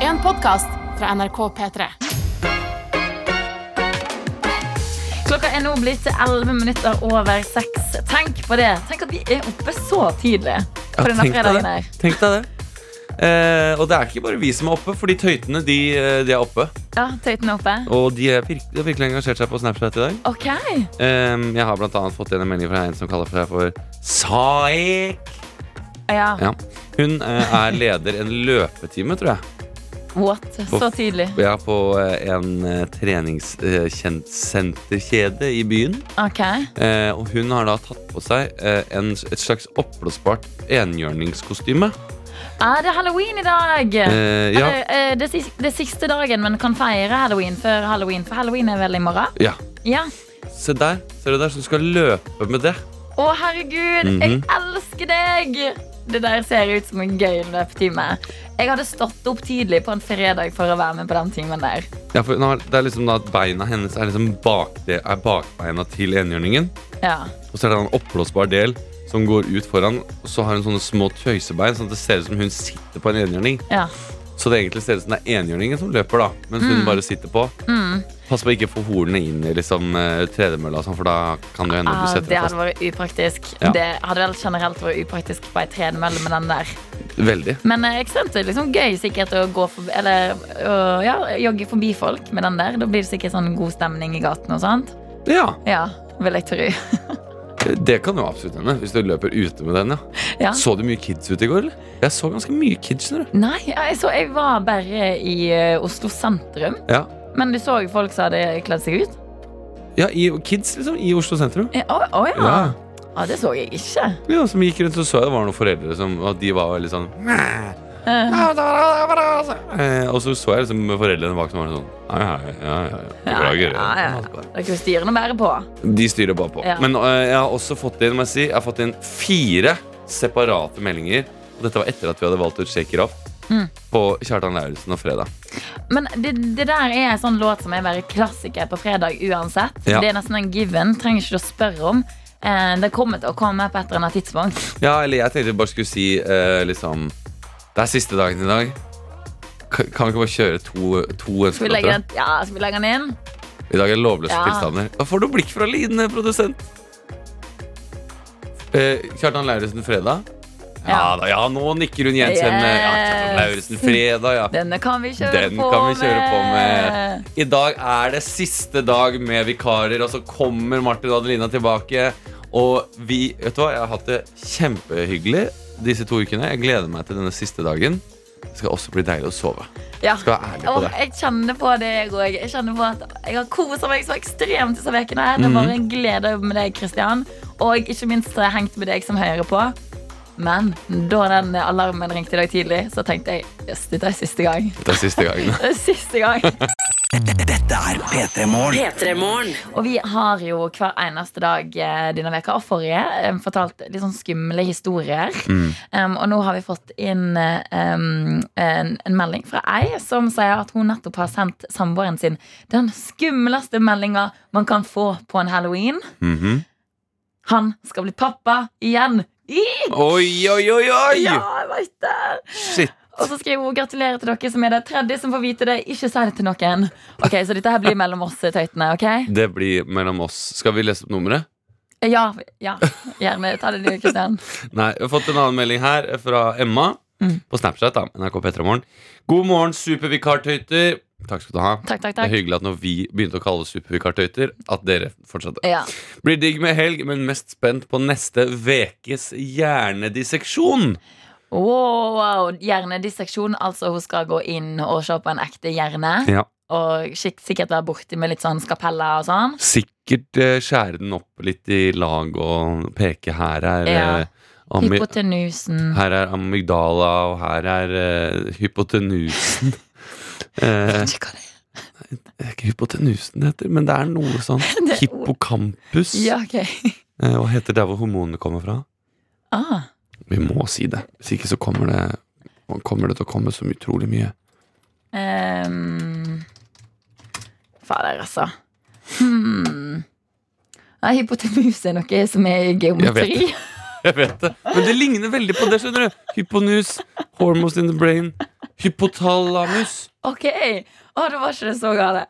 en podkast fra NRK P3. Klokka er nå blitt 11 minutter over seks. Tenk på det. Tenk at vi er oppe så tidlig på denne tenk deg fredagen det. her. Tenk deg det. Eh, og det er ikke bare vi som er oppe, fordi tøytene de, eh, de er oppe. Ja, Tøyten er oppe. Og de er virk- de har virkelig engasjert seg på Snapchat i dag. Ok. Eh, jeg har blant annet fått igjen en melding fra en som kaller seg for Saik. Ja. Ja. Hun eh, er leder en løpetime, tror jeg. What? Så tidlig. Og jeg er på eh, en treningssenterkjede i byen. Ok. Eh, og hun har da tatt på seg eh, en, et slags oppblåsbart enhjørningskostyme. Er det halloween i dag? Eh, Er ja. det, eh, det, sis- det siste dagen man kan feire halloween før halloween, for halloween er vel i morgen? ja. Ja. Se der. Ser du der? Så du skal løpe med det. Å, herregud, Mhm. jeg elsker deg! Det der ser ut som en gøy løpetime. Jeg hadde stått opp tidlig på en fredag for å være med på den timen der. Ja, for hun har, det er liksom da at Beina hennes er liksom bak det, er bakbeina til enhjørningen. Ja. Og så er det en oppblåsbar del som går ut foran. Og så har hun sånne små tøysebein, sånn at det ser ut som hun sitter på en enhjørning. ja. Så det egentlig ser ut som det er enhjørningen som løper, da. Mens Mm. hun bare sitter på. Pass på å ikke få hornene inn i liksom, eh, tredemølla, og sånn, for da kan det hende Ah, du setter det deg hadde fast. vært upraktisk. Ja. Det hadde vel generelt vært upraktisk på ei tredemølle med den der. Veldig. Men eh, ikke sant? det er liksom gøy sikkert å gå forbi, eller, å, ja, jogge forbi folk med den der. Da blir det sikkert sånn god stemning i gaten og sånt. Ja, Ja, vil jeg tro. det kan jo absolutt hende. Hvis du løper ute med den, ja. Ja. Så du mye kids ute i går, eller? Jeg så ganske mye kids, skjønner du. Nei, jeg, så jeg var bare i eh, Oslo sentrum. Ja. Men du så jo folk som hadde kledd seg ut? ja, i, kids liksom, i Oslo sentrum. Eh, Å å, ja. Ja. Ja. Det så jeg ikke. Ja, som gikk rundt, så så jeg det var noen foreldre som Og de var veldig sånn Eh, eh, Og så så jeg liksom foreldrene bak som var sånn Ja, ja, ja, ja, ja. ja, Beklager. ja, ja. Det er ikke styrende å bære på. De styrer bare på. Ja. Men eh, jeg har også fått inn, må jeg si, jeg har fått inn fire separate meldinger. Og dette var etter at vi hadde valgt ut Shake It Off Mm. på Kjartan Lauritzen og Fredag. Men det, det der er en sånn låt som er bare klassiker på fredag uansett. Ja. Det er nesten en given. Trenger ikke du å spørre om. Eh, det kommer til å komme på et eller annet tidspunkt. Ja, eller jeg tenkte jeg bare skulle si eh, liksom Det er siste dagen i dag. Kan kan vi ikke bare kjøre to, to Skal vi legge ønskelåter? den, ja, skal vi legge den inn? I dag er det lovløse Ja. tilstander. Da får du blikk fra lidende produsent. Eh, Kjartan Lauritzen fredag. Ja, Ja. da, ja, nå nikker hun gjenkjennende. Ja, Kjartan Yes. Lauritzen fredag, ja. Denne kan vi kjøre Den på kan vi kjøre på med. I dag er det siste dag med vikarer, og så kommer Martin og Adelina tilbake. Og vi Vet du hva, jeg har hatt det kjempehyggelig disse to ukene. Jeg gleder meg til denne siste dagen. Det skal også bli deilig å sove. Ja. Skal være ærlig på Åh, det. jeg kjenner på det, jeg òg. Jeg kjenner på at jeg har kosa meg så ekstremt disse ukene. her. Det er Mhm. bare en glede med deg, Kristian. Og ikke minst har jeg hengt med deg som hører på. Men da den alarmen ringte i dag tidlig, så tenkte jeg yes, dette er siste gang. Det er siste gangen. Det er siste gang. Dette er P3 Morgen. P3morgen. Og vi har jo hver eneste dag eh, denne veka og forrige eh, fortalt litt sånn skumle historier. Mm, Um, og nå har vi fått inn eh, um, en, en melding fra ei som sier at hun nettopp har sendt samboeren sin den skumleste meldinga man kan få på en halloween. Mhm. Han skal bli pappa igjen! I! Oi, oi, oi, oi! Ja, jeg vet det! Shit. Og så skriver hun gratulerer til dere som er det tredje som får vite det. Ikke si det til noen. Ok, Så dette her blir mellom oss eh, tøytene. ok? Eh, Det blir mellom oss. Skal vi lese opp nummeret? Ja, ja. gjerne. Ta det du, Kristian. Nei, jeg har fått en annen melding her fra Emma Mm. på Snapchat. da, NRK Petremorgen. God morgen, supervikartøyter. Takk skal du ha. Takk, takk, Det er takk. hyggelig at når vi begynte å kalle oss supervikartøyter, at dere fortsatte. Ja. Blir digg med helg, men mest spent på neste vekes hjernedisseksjon. Wow, hjernedisseksjon. Altså hun skal gå inn og se på en ekte hjerne. Ja. Og skik- sikkert være borti med litt sånn skapeller og sånn. Sikkert eh, skjære den opp litt i lag og peke her er Ja. eh, ami- Hypotenusen. Her er amygdala, og her er eh, hypotenusen. Eh, Vet ikke hva det er. det er ikke hypotenusen det heter, men det er noe sånn Det er ord. hippocampus. Ja, ok. Eh, Hva heter der hvor hormonene kommer fra? Ah, Vi må si det. Hvis ikke så kommer det, kommer det til å komme så utrolig mye. ehm. Fader, altså. Hmm. Nei, hypotenus er noe som er i vet geometri. Jeg vet det. Men det ligner veldig på det, skjønner du. Hyponus, hormones in the brain, Hypotalamus. Ok, å, da var ikke det så gale.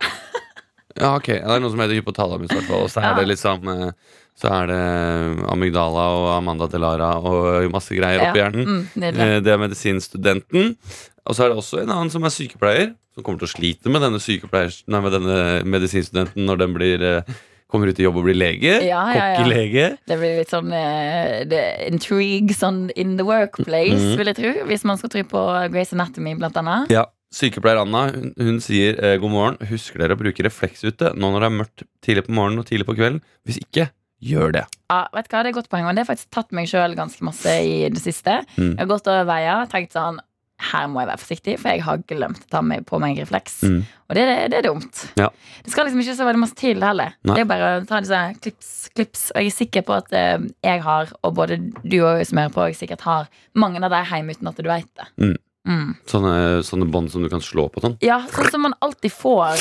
Ja, ok. Det er noe som heter hypotalamus, i hvert fall. Og så er Ja. det litt sånn eh, Så er det eh, amygdala og Amanda Delara og masse greier oppi Ja, hjernen. Mm, nydelig. Eh, Det er medisinstudenten. Og så er det også en annen som er sykepleier, som kommer til å slite med denne, sykepleier- nei, med denne medisinstudenten når den blir, eh, kommer ut i jobb og blir lege. Ja, ja, ja. Kokkelege. Det blir litt sånn eh, det, intrigue sånn in the workplace, Mhm. vil jeg tro. Hvis man skal tro på Grace Anatomy, blant annet. Ja. Sykepleier Anna hun, hun sier eh, god morgen. Husker dere å bruke refleks ute nå når det er mørkt tidlig på morgenen og tidlig på kvelden? Hvis ikke, gjør det. Ja, vet du hva, Det er et godt poeng, og det har faktisk tatt meg sjøl ganske masse i det siste. Mm. Jeg har gått over veier og tenkt sånn her må jeg være forsiktig, for jeg har glemt å ta meg på meg refleks. Mm. Og det, er- det er dumt. Ja. Det skal liksom ikke så veldig masse til heller. Nei. Det er bare å ta disse klips, klips. Og jeg er sikker på at eh, jeg har, og både du og jeg som hører på, jeg sikkert har mange av deg hjemme uten at du veit det. Mm. Mm. Sånne, sånne bånd som du kan slå på sånn. Ja, sånn som man alltid får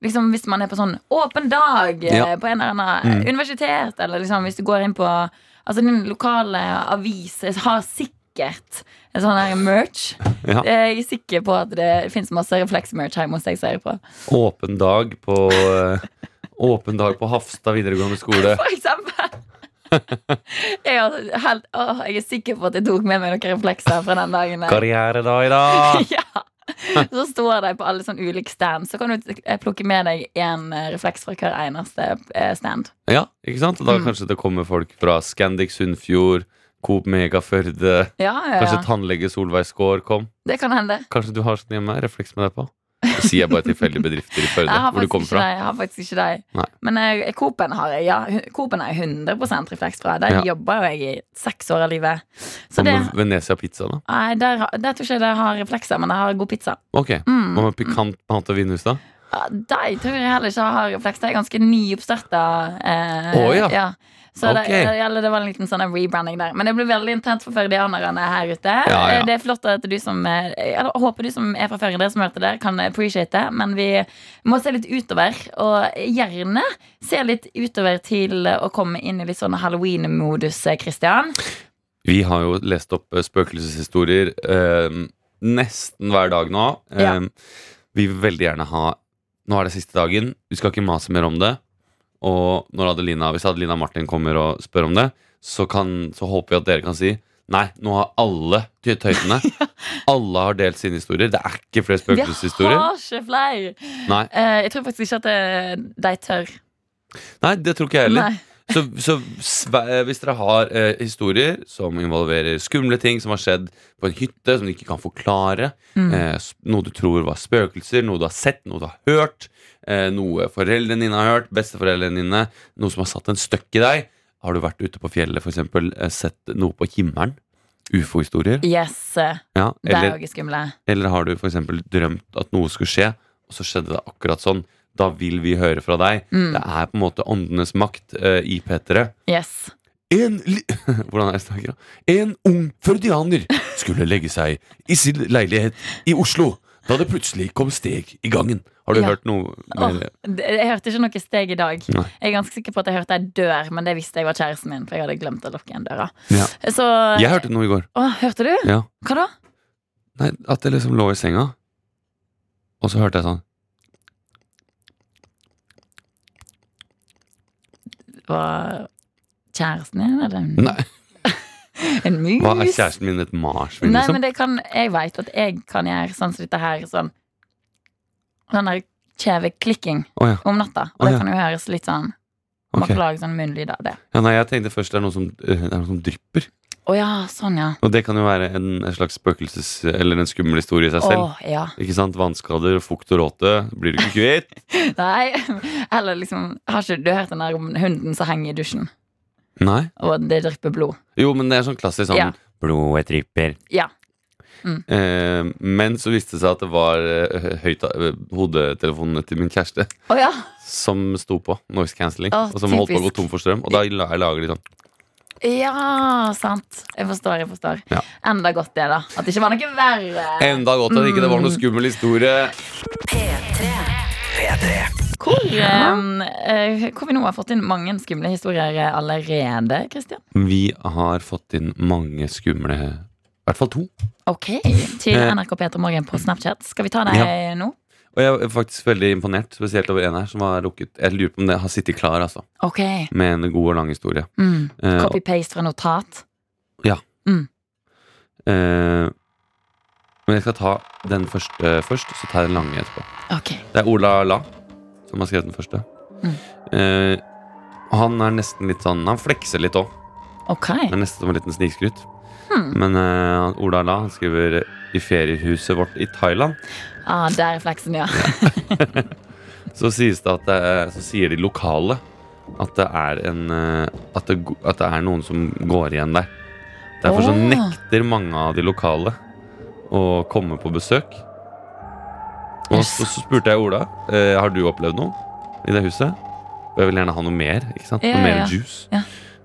liksom, Hvis man er på sånn åpen dag eh, Ja. På en eller annen Mm. universitet Eller liksom, hvis du går inn på Altså din lokale avis Har sikkert en sånn her merch Ja. Jeg er sikker på at det finnes masse refleksmerch hjemme hos deg som jeg ser på Åpen dag på eh, Åpen dag på Hafstad videregående skole. For eksempel jeg, har helt, åh, jeg er sikker på at jeg tok med meg noen reflekser fra den dagen der. Karrieredag i dag! ja. Så står de på alle sånn ulike stand Så kan du eh, plukke med deg en eh, refleks fra hver eneste eh, stand Ja, ikke sant? Da Mm. kanskje det kommer folk fra Scandic Sunnfjord, Coop Mega Førde Ja, ja, Kanskje ja. tannlege Solveig Skaar kom. Det kan hende. Kanskje du har sånn hjemme? Refleks med deg på. Det sier jeg bare tilfeldige bedrifter i Førde, Jeg har hvor du faktisk kommer ikke fra. deg. Jeg har faktisk ikke deg. Nei. Men eh, Coop-en har jeg ja, hu- Coop-en har jeg 100 refleks fra. Der Ja. jobber jo jeg i seks år av livet. Så Hva det, med Venezia pizza, da? nei, der, har- der tror ikke jeg det har reflekser, men jeg har god pizza. Ok. Mm. Hva med pikant mat og vinhus, da? Ja, de tror jeg heller ikke har reflekser. Jeg er ganske nyoppstarta. Eh, Å, ja. Så det- Ok. det, gjelder- det var en liten sånn rebranding der. Men det blir veldig intenst for førdianerne her ute. Ja, ja. Eh, Det er flott at du som eh, Jeg håper du som er fra Førde, som hørte det, kan appreciate det. Men vi må se litt utover. Og gjerne se litt utover til å komme inn i litt sånn halloween-modus, eh, Christian. Vi har jo lest opp eh, spøkelseshistorier eh, nesten hver dag nå. Eh, Ja. Vi vil veldig gjerne ha Nå er det siste dagen, vi skal ikke mase mer om det. Og når Adelina, hvis Adelina Martin kommer og spør om det, så, kan, så håper vi at dere kan si Nei, nå har alle ty- tøytene. Alle har delt sine historier. Det er ikke flere Vi har spøkelseshistorier. ikke flere! Nei. Eh, jeg tror faktisk ikke at eh, de tør. Nei, det tror ikke jeg heller. Nei. Så, så sve- hvis dere har eh, historier som involverer skumle ting som har skjedd på en hytte, som du ikke kan forklare, Mm. eh, s- noe du tror var spøkelser, noe du har sett, noe du har hørt, eh, noe foreldrene dine har hørt, besteforeldrene dine, noe som har satt en støkk i deg Har du vært ute på fjellet, f.eks., eh, sett noe på himmelen? Ufo-historier? Yes. eh, Ja, De er eller, òg skumle. eller har du f.eks. drømt at noe skulle skje, og så skjedde det akkurat sånn? Da vil vi høre fra deg. Mm. Det er på en måte åndenes makt eh, i P3. Yes. En li Hvordan er det jeg snakker da? En ung førdianer skulle legge seg i sin leilighet i Oslo da det plutselig kom steg i gangen. Har du Ja. hørt noe? Åh, Med det? det- jeg hørte ikke noe steg i dag. Nei. Jeg er ganske sikker på at jeg hørte ei dør, men det visste jeg var kjæresten min. For jeg hadde glemt å lukke igjen døra. Ja. Så Jeg hørte noe i går. Å, hørte du? Ja. Hva da? Nei, At jeg liksom lå i senga, og så hørte jeg sånn Var kjæresten din, eller en, Nei, en mus? Hva er kjæresten min? Et marsvin, Nei, liksom? men det kan, jeg veit at jeg kan gjøre sånn som dette her. Sånn den der kjeveklikking Å ja. om natta. Å, Og det ja. kan jo høres litt sånn Man ok. kan lage sånn munnlyd av det. ja. Nei, jeg tenkte først det er noe som, eh, det er noe som drypper. Å ja, sånn, ja. Og det kan jo være en, en slags spøkelses- eller en skummel historie i seg Å selv. ja. Ikke sant? Vannskader, fukt og råte. Blir du ikke kvitt? Nei. Eller liksom Har ikke du hørt den der om hunden som henger i dusjen, Nei. og det drypper blod? Jo, men det er sånn klassisk sånn Ja. Blodet drypper. Ja. Eh, men så viste det seg at det var eh, høyta- eh, hodetelefonene til min kjæreste Å ja. som sto på. Noise cancelling. Å, og som holdt på å gå typisk. tom for strøm. Og da la jeg lager litt sånn Ja, sant. Jeg forstår. jeg forstår Ja. Enda godt det, da. At det ikke var noe verre. Enda godt at ikke det Mm. var noe skummel historie. Hvor, em, eh, hvor vi nå har fått inn mange skumle eh, historier allerede, Kristian. Vi har fått inn mange skumle I hvert fall to. Ok, til Eh. NRK Peter Morgen på Snapchat. Skal vi ta deg nå? Og jeg er faktisk veldig imponert, spesielt over en her som har rukket Jeg lurer på om det har sittet klar, altså. Ok. Med en god og lang historie. Mm. Eh, Copy-paste fra notat. eh, men jeg skal ta den første først, så tar jeg den lange etterpå. Ok. Det er Ola La som har skrevet den første. Mm. Eh, han er nesten litt sånn Han flekser litt òg. Ok. Det er nesten som en liten snikskryt. Hmm. Men eh, Ola La han skriver i feriehuset vårt i Thailand Ah, der er fleksen, ja. så, sies det at det, er- så sier de lokale at det er en eh, at det, go- at det er noen som går igjen der. Derfor så Åh. nekter mange av de lokale å komme på besøk. Og Yes. så, så spurte jeg Ola eh, Har du opplevd noe i det huset. Og jeg vil gjerne ha noe mer. ikke sant? Ja, noe mer ja, ja. juice. Ja.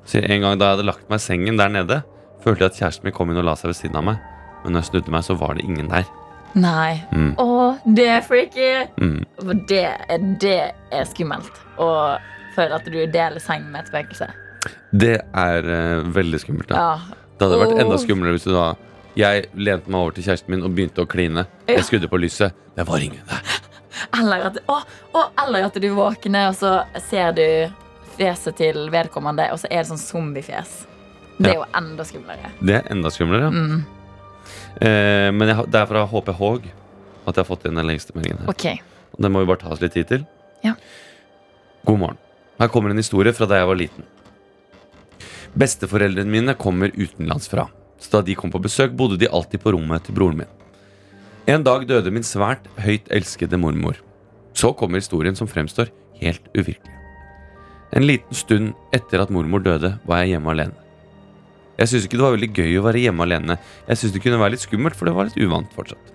Så en gang da jeg hadde lagt meg i sengen der nede, følte jeg at kjæresten min kom inn og la seg ved siden av meg. Men når jeg snudde meg, så var det ingen der. Nei. Mm, Å, det er freaky! mm. For det, er- det er skummelt. Å føle at du deler seng med et spøkelse. Det er eh, veldig skummelt. Da. Ja. Det hadde vært enda Åh. skumlere hvis du da Jeg lente meg over til kjæresten min og begynte å kline. Ja. Jeg skrudde på lyset. Det var ingen der. Eller at, å, å, eller at du våkner, og så ser du fjeset til vedkommende, og så er det sånn zombiefjes. Det er jo enda skumlere. Det er enda skumlere. Mm. Eh, men jeg, har- det er fra HP Haag at jeg har fått inn den lengste meldingen. her Ok. Og Den må vi bare ta oss litt tid til. Ja. God morgen. Her kommer en historie fra da jeg var liten. Besteforeldrene mine kommer utenlandsfra, så da de kom på besøk, bodde de alltid på rommet til broren min. En dag døde min svært høyt elskede mormor. Så kommer historien som fremstår helt uvirkelig. En liten stund etter at mormor døde, var jeg hjemme alene. Jeg syntes ikke det var veldig gøy å være hjemme alene. Jeg syntes det kunne være litt skummelt, for det var litt uvant fortsatt.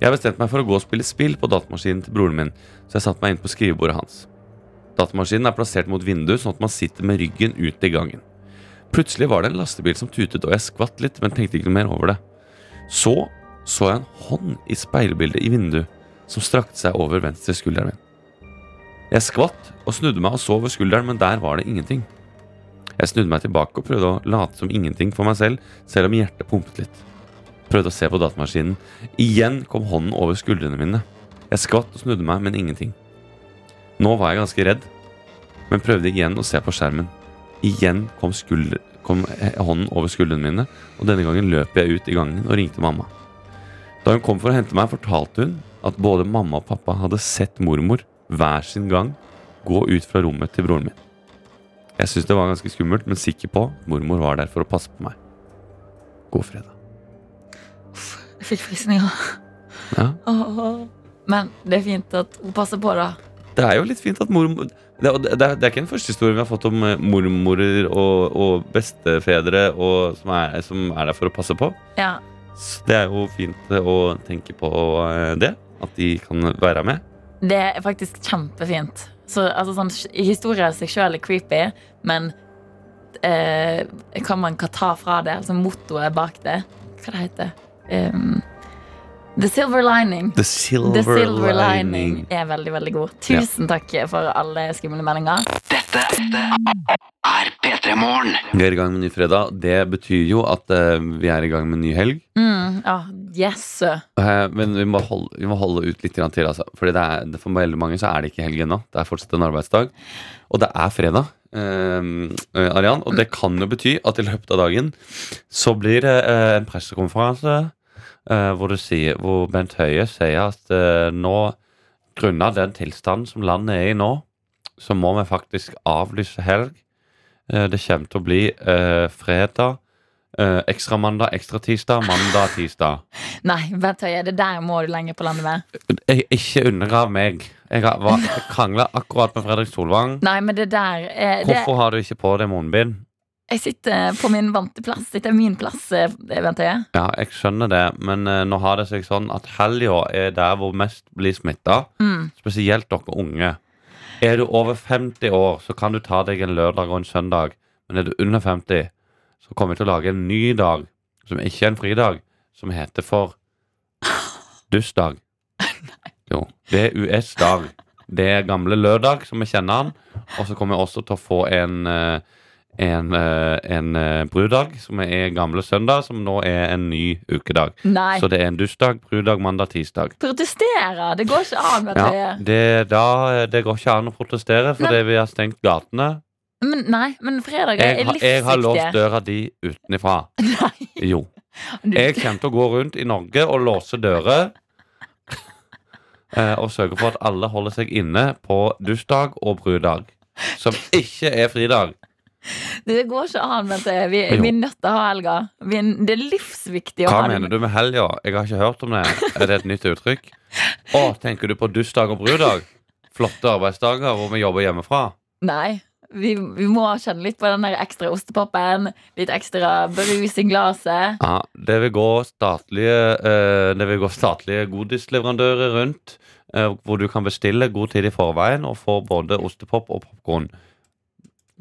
Jeg bestemte meg for å gå og spille spill på datamaskinen til broren min, så jeg satte meg inn på skrivebordet hans. Datamaskinen er plassert mot vinduet, sånn at man sitter med ryggen ut i gangen. Plutselig var det en lastebil som tutet, og jeg skvatt litt, men tenkte ikke noe mer over det. Så så jeg en hånd i speilbildet i vinduet, som strakte seg over venstre skulderen min. Jeg skvatt og snudde meg og så over skulderen, men der var det ingenting. Jeg snudde meg tilbake og prøvde å late som ingenting for meg selv, selv om hjertet pumpet litt. Prøvde å se på datamaskinen, Igjen kom hånden over skuldrene mine. Jeg skvatt og snudde meg, men ingenting. Nå var jeg ganske redd, men prøvde igjen å se på skjermen. Igjen kom, skuldre, kom eh, hånden over skuldrene mine, og denne gangen løp jeg ut i gangen og ringte mamma. Da hun kom for å hente meg, fortalte hun at både mamma og pappa hadde sett mormor hver sin gang gå ut fra rommet til broren min. Jeg syntes det var ganske skummelt, men sikker på at mormor var der for å passe på meg. God fredag. Jeg fikk frysninger. Ja. Åh. Men det er fint at hun passer på, da. Det er jo litt fint at mormor det, er- det, er- det er ikke den første historien vi har fått om eh, mormorer og, og bestefedre og, som, er, som er der for å passe på. Ja. Så det er jo fint eh, å tenke på eh, det. At de kan være med. Det er faktisk kjempefint. Så, altså, sånn, historier i seg sjøl er creepy, men eh, hva man kan ta fra det, altså mottoet bak det Hva det heter Em, The silver lining. The silver, The silver lining er veldig, veldig god. Tusen takk for alle skumle meldinger. Dette er P3 Morgen. Vi er i gang med ny fredag. Det betyr jo at eh, vi er i gang med ny helg. Mm, ja, yes, sir. Eh, Men vi må holde, vi må holde ut litt grann til. Altså. Fordi det er, for veldig mange så er det ikke helg ennå. Det er fortsatt en arbeidsdag. Og det er fredag. eh, Arian, og det kan jo bety at i løpet av dagen så blir det eh, en pressekonferanse eh, hvor, det sier, hvor Bent Høie sier at eh, nå, grunnet den tilstanden som landet er i nå, så må vi faktisk avlyse helg. Eh, det kommer til å bli eh, fredag, eh, ekstra mandag, ekstra tirsdag, mandag, tirsdag. Nei, vent Høie, det der må du lenger på landet med. Jeg, ikke undergrav meg. Jeg har- var- jeg krangla akkurat med Fredrik Solvang. Nei, men det der eh, det, Hvorfor har du ikke på deg munnbind? Jeg sitter på min vante plass. Dette er min plass, eh, vent Høie. Ja, jeg skjønner det, men eh, nå har det seg sånn at helga er der hvor mest blir smitta. Mm. Spesielt dere unge. Er du over 50 år, så kan du ta deg en lørdag og en søndag. Men er du under 50, så kommer vi til å lage en ny dag, som ikke er en fridag, som heter for Dustdag. Jo. VUS-dag. Det er gamle lørdag, som vi kjenner den. Og så kommer vi også til å få en, eh, en, eh, en eh, brudag, som er gamle søndag, som nå er en ny ukedag. Nei. Så det er en dusdag, brudag, mandag, tirsdag. Protestere! Det går ikke an. vet Ja, du. det, da, eh, det går ikke an å protestere, fordi vi har stengt gatene. Men, nei, men fredag er Jeg, har- jeg har låst livsviktig. døra di utenifra. Nei, Jo. du- Jeg kommer til å gå rundt i Norge og låse dører. eh, Og sørge for at alle holder seg inne på dusdag og brudag. Som ikke er fridag. Det går ikke an. vet du. Vi, Jo. vi er nødt til å ha helga. Vi er, det er livsviktig å Hva ha mener du med helga? Jeg har ikke hørt om det. Er det et nytt uttrykk? Å, tenker du på dusdag og brudag? Flotte arbeidsdager hvor vi jobber hjemmefra. Nei. Vi, vi må kjenne litt på den der ekstra ostepopen. Litt ekstra brus i glasset. Ja, det vil gå statlige, eh, det vil gå statlige godisleverandører rundt, eh, hvor du kan bestille god tid i forveien og få både ostepop og popkorn.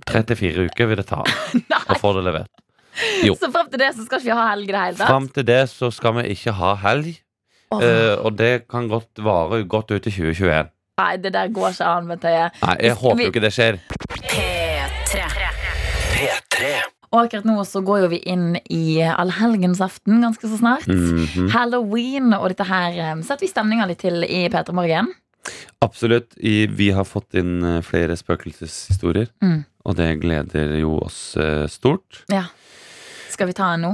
34 uker vil det ta å Nei! få det levert. Jo. Så frem til det så skal ikke vi ha helg i det hele tatt. Fram til det så skal vi ikke ha helg, Åh, eh, og det kan godt vare godt ut i 2021. nei, det der går ikke an. Vet du. Nei, jeg håper Vi- jo ikke det skjer. P3 Og akkurat nå så går jo vi inn i allhelgensaften ganske så snart. Mhm. Halloween og dette her eh, setter vi stemninga litt til i P3 Morgen. Absolutt. I, vi har fått inn eh, flere spøkelseshistorier, Mm. og det gleder jo oss eh, stort. Skal vi ta en nå?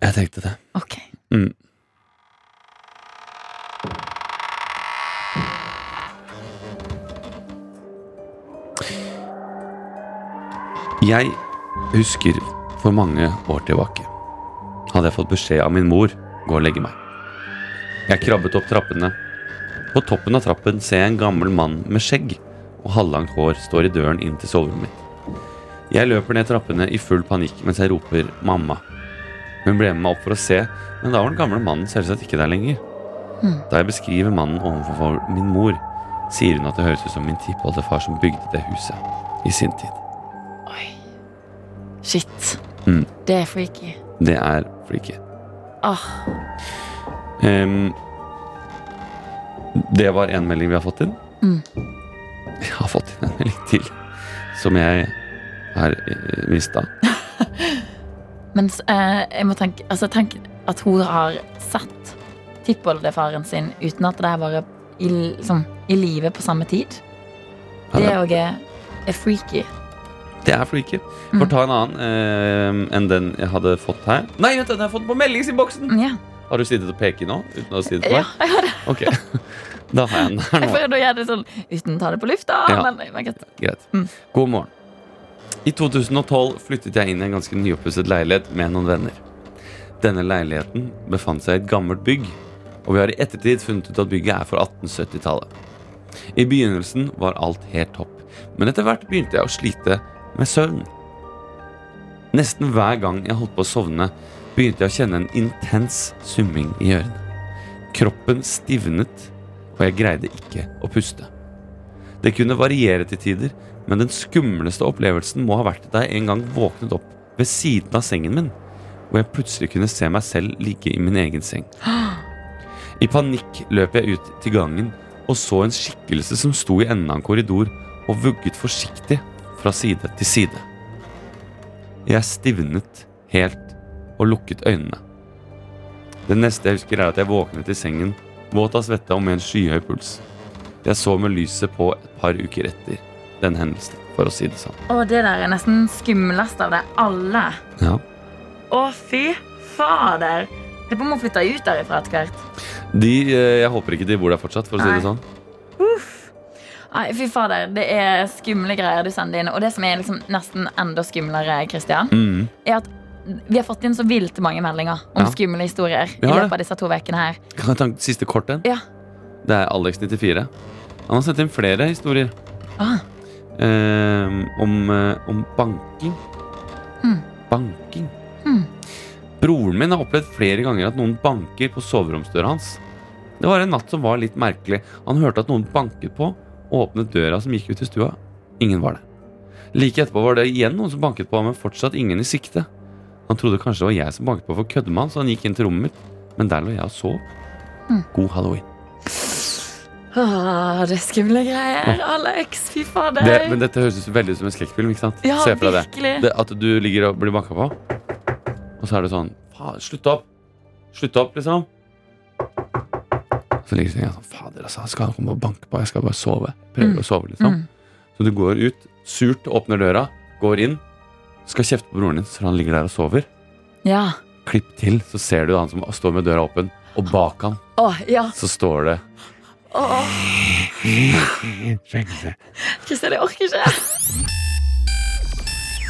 Jeg tenkte det. Ok. Mm. Jeg husker for mange år tilbake hadde jeg fått beskjed av min mor gå og legge meg. Jeg krabbet opp trappene. På toppen av trappen ser jeg en gammel mann med skjegg og halvlangt hår står i døren inn til soverommet mitt. Jeg løper ned trappene i full panikk mens jeg roper 'mamma'. Hun ble med meg opp for å se, men da var den gamle mannen selvsagt ikke der lenger. Da jeg beskriver mannen overfor min mor, sier hun at det høres ut som min tippoldefar som bygde det huset i sin tid. Oi. Shit. Mm. Det er freaky. Det er freaky. Åh, Ehm, det var en melding vi har fått inn. Mm. Jeg har fått inn en melding til, som jeg har eh, mista. Men eh, jeg må tenke altså, Tenk at hun har sett tippoldefaren sin uten at det har vært i, liksom, i livet på samme tid. Ja, Det det- òg er, er freaky. Det er freaky. Mm. Får ta en annen ehm, enn den jeg hadde fått her. Nei, vent, den har jeg fått på meldingsinnboksen! Ja. Har du sittet og peket nå? Uten å si det på Mm. ja meg? jeg har det. Ok, da har jeg den her Jeg nå. prøvde å gjøre det sånn uten å ta det på lufta. Ja. Men, men greit. Greit. Mm. God morgen. I 2012 flyttet jeg inn i en ganske nyoppusset leilighet med noen venner. Denne leiligheten befant seg i et gammelt bygg, og vi har i ettertid funnet ut at bygget er fra 1870-tallet. I begynnelsen var alt helt topp, men etter hvert begynte jeg å slite med søvn. Nesten hver gang jeg holdt på å sovne, begynte jeg å kjenne en intens summing i ørene. Kroppen stivnet, og jeg greide ikke å puste. Det kunne variere til tider, men den skumleste opplevelsen må ha vært da jeg en gang våknet opp ved siden av sengen min, og jeg plutselig kunne se meg selv ligge i min egen seng. I panikk løp jeg ut til gangen og så en skikkelse som sto i enden av en korridor og vugget forsiktig fra side til side. Jeg stivnet helt og lukket øynene. Det neste jeg husker, er at jeg våknet i sengen, våt av svette og med en skyhøy puls. Jeg så med lyset på et par uker etter den hendelsen, for å si det sånn. Å, det der er nesten skumlest av det alle. Ja. Å, fy fader. Jeg må flytte ut derifra etter hvert. De, eh, jeg håper ikke de bor der fortsatt, for å si det Nei. sånn. Nei, fy fader, Det er skumle greier du sender inn. Og det som er liksom nesten enda skumlere, Christian, Mm. er at vi har fått inn så vilt mange meldinger om Ja. skumle historier. i Vi har det. løpet av disse to ukene her Kan jeg ta en siste kort en? Ja. Det er Alex94. Han har sendt inn flere historier ah, eh, om, eh, om banking. Mm. Banking. Mm. Broren min har opplevd flere ganger at noen banker på soveromsdøra hans. Det var en natt som var litt merkelig. Han hørte at noen banket på, og åpnet døra som gikk ut i stua. Ingen var der. Like etterpå var det igjen noen som banket på, men fortsatt ingen i sikte. Han trodde kanskje det var jeg som banket på for å kødde med han, så han gikk inn til rommet mitt, men der lå jeg og sov. Mm. God halloween. Åh, Ah, det er skumle greier. Alex, fy fader. Det, men dette høres ut veldig ut som en skrekkfilm. ikke sant? ja, Se for deg det. virkelig. det. At du ligger og blir banka på, og så er det sånn Faen, slutt opp! Slutt opp, liksom. Så ligger senga sånn Fader, altså, jeg skal komme og banke på. Jeg skal bare sove. Prøver Mm. å sove, liksom. Mm. Så du går ut, surt åpner døra, går inn, skal kjefte på broren din, så han ligger der og sover. Ja. Klipp til, så ser du han som står med døra åpen, og bak han Åh, ja. så står det Åh, Kristian, jeg orker ikke.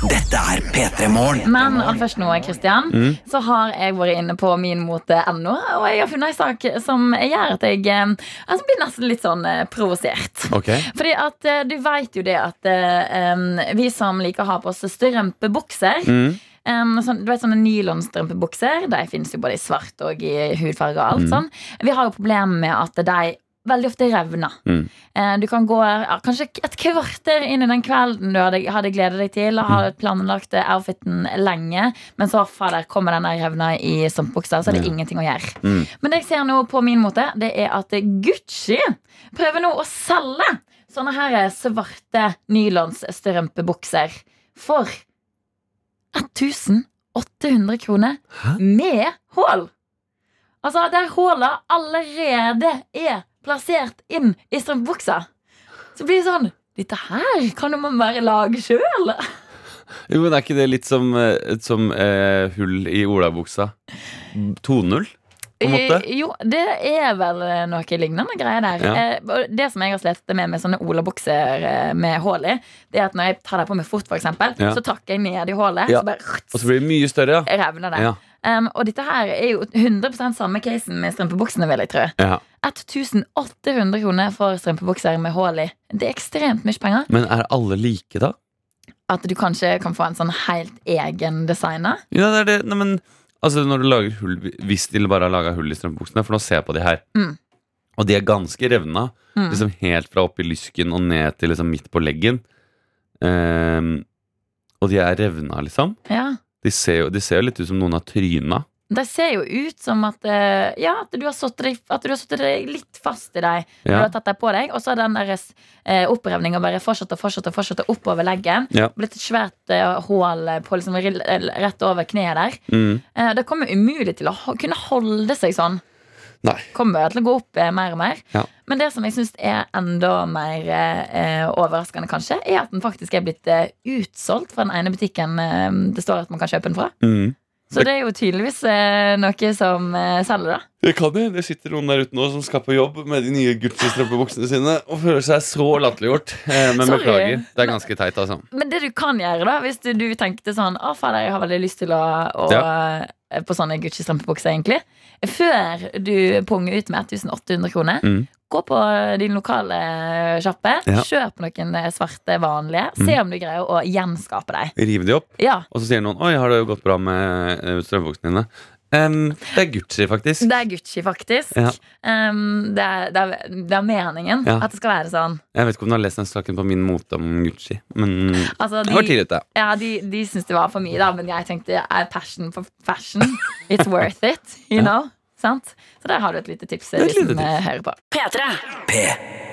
Dette er P3 Morgen. Men aller først nå, Kristian, Mm. så har jeg vært inne på minmote.no, og jeg har funnet en sak som gjør at jeg eh, altså blir nesten litt sånn eh, provosert. Ok. Fordi at eh, du vet jo det at eh, em, vi som liker å ha på oss strømpebukser Mm. em, sånn, Du vet sånne nylonstrømpebukser, de finnes jo både i svart og i hudfarge og alt Mm. sånn. Vi har jo problemer med at de veldig ofte revner. Mm. Eh, Du kan gå ja, kanskje et kvarter inn i den kvelden du hadde, hadde gledet deg til, og Mm. har planlagt eh, outfiten lenge, men så fader, kommer denne revna i strømpebuksa, så er det Ja. ingenting å gjøre. Mm. Men det jeg ser nå på min måte, det er at Gucci prøver nå å selge sånne her svarte nylonsstrømpebukser for 1800 kroner Hæ? med hull. Altså der hullet allerede er plassert inn i strømpebuksa. Så blir det sånn Dette her kan jo man bare lage sjøl. Jo, men er ikke det litt som, eh, som eh, hull i olabuksa? 2-0, på en måte? Eh, Jo, det er vel eh, noe lignende greier der. Ja. Eh, og det som jeg har slitt med med sånne olabukser eh, med hull i, det er at når jeg tar dem på med fot, for eksempel, Ja. så tråkker jeg ned i hullet, Ja. så bare Og så blir det mye større, ja. revner det. Ja. Um, og dette her er jo 100 samme casen med strømpebuksene, vil jeg tro. ja. 1800 kroner for strømpebukser med hull i. Det er ekstremt mye penger. Men er alle like, da? At du kanskje kan få en sånn helt egen designer. Ja, det er det. Nei, men altså, når du lager hull Hvis de bare har laga hull i strømpebuksene, for nå ser jeg på de her. Mm. Og de er ganske revna. Mm. Liksom helt fra oppi lysken og ned til liksom midt på leggen. Ehm, og de er revna, liksom. Ja. De ser jo, de ser jo litt ut som noen har tryna. De ser jo ut som at, eh, ja, at du har satt deg, at du har satt deg litt fast i dem. når Du Ja. har tatt deg på deg, og så har den deres eh, opprevninga bare fortsatt og fortsatt og fortsatt oppover leggen. Ja. Blitt et svært eh, hull på liksom, rill- eh, rett over kneet der. Mm. Eh, det kommer umulig til å ho- kunne holde seg sånn. Nei. Kommer til å gå opp eh, mer og mer. Ja. Men det som jeg syns er enda mer eh, eh, overraskende, kanskje, er at den faktisk er blitt eh, utsolgt fra den ene butikken eh, det står at man kan kjøpe den fra. Mm. Så det er jo tydeligvis eh, noe som eh, selger, da. Det kan det. Det sitter noen der ute nå som skal på jobb med de nye Gucci-strømpebuksene sine og føler seg så latterliggjort. Eh, men Sorry. beklager. Det er ganske teit, altså. Men det du kan gjøre, da, hvis du, du tenkte sånn Å, fader, jeg har veldig lyst til å, å eh, På sånne Gucci-strømpebukser, egentlig. Før du punger ut med 1800 kroner, Mm. gå på din lokale sjappe. Ja. Mm. Kjøp noen eh, svarte, vanlige. Se om du greier å gjenskape dem. Riv de opp, Ja. og så sier noen 'Oi, har det jo gått bra med eh, strømpebuksene dine?' Em, det er Gucci, faktisk. Det er Gucci, faktisk. Ja. Um, det, er, det, er, det er meningen Ja. at det skal være sånn. Jeg vet ikke om du har lest den saken på min mote om Gucci, men det Altså, var de, tidligere. ja, de, de syntes det var for mye, da, men jeg tenkte er passion for fashion. It's worth it, you know. Sant? Så der har du et lite tips. er et de som lite tips. eh, hører på P3.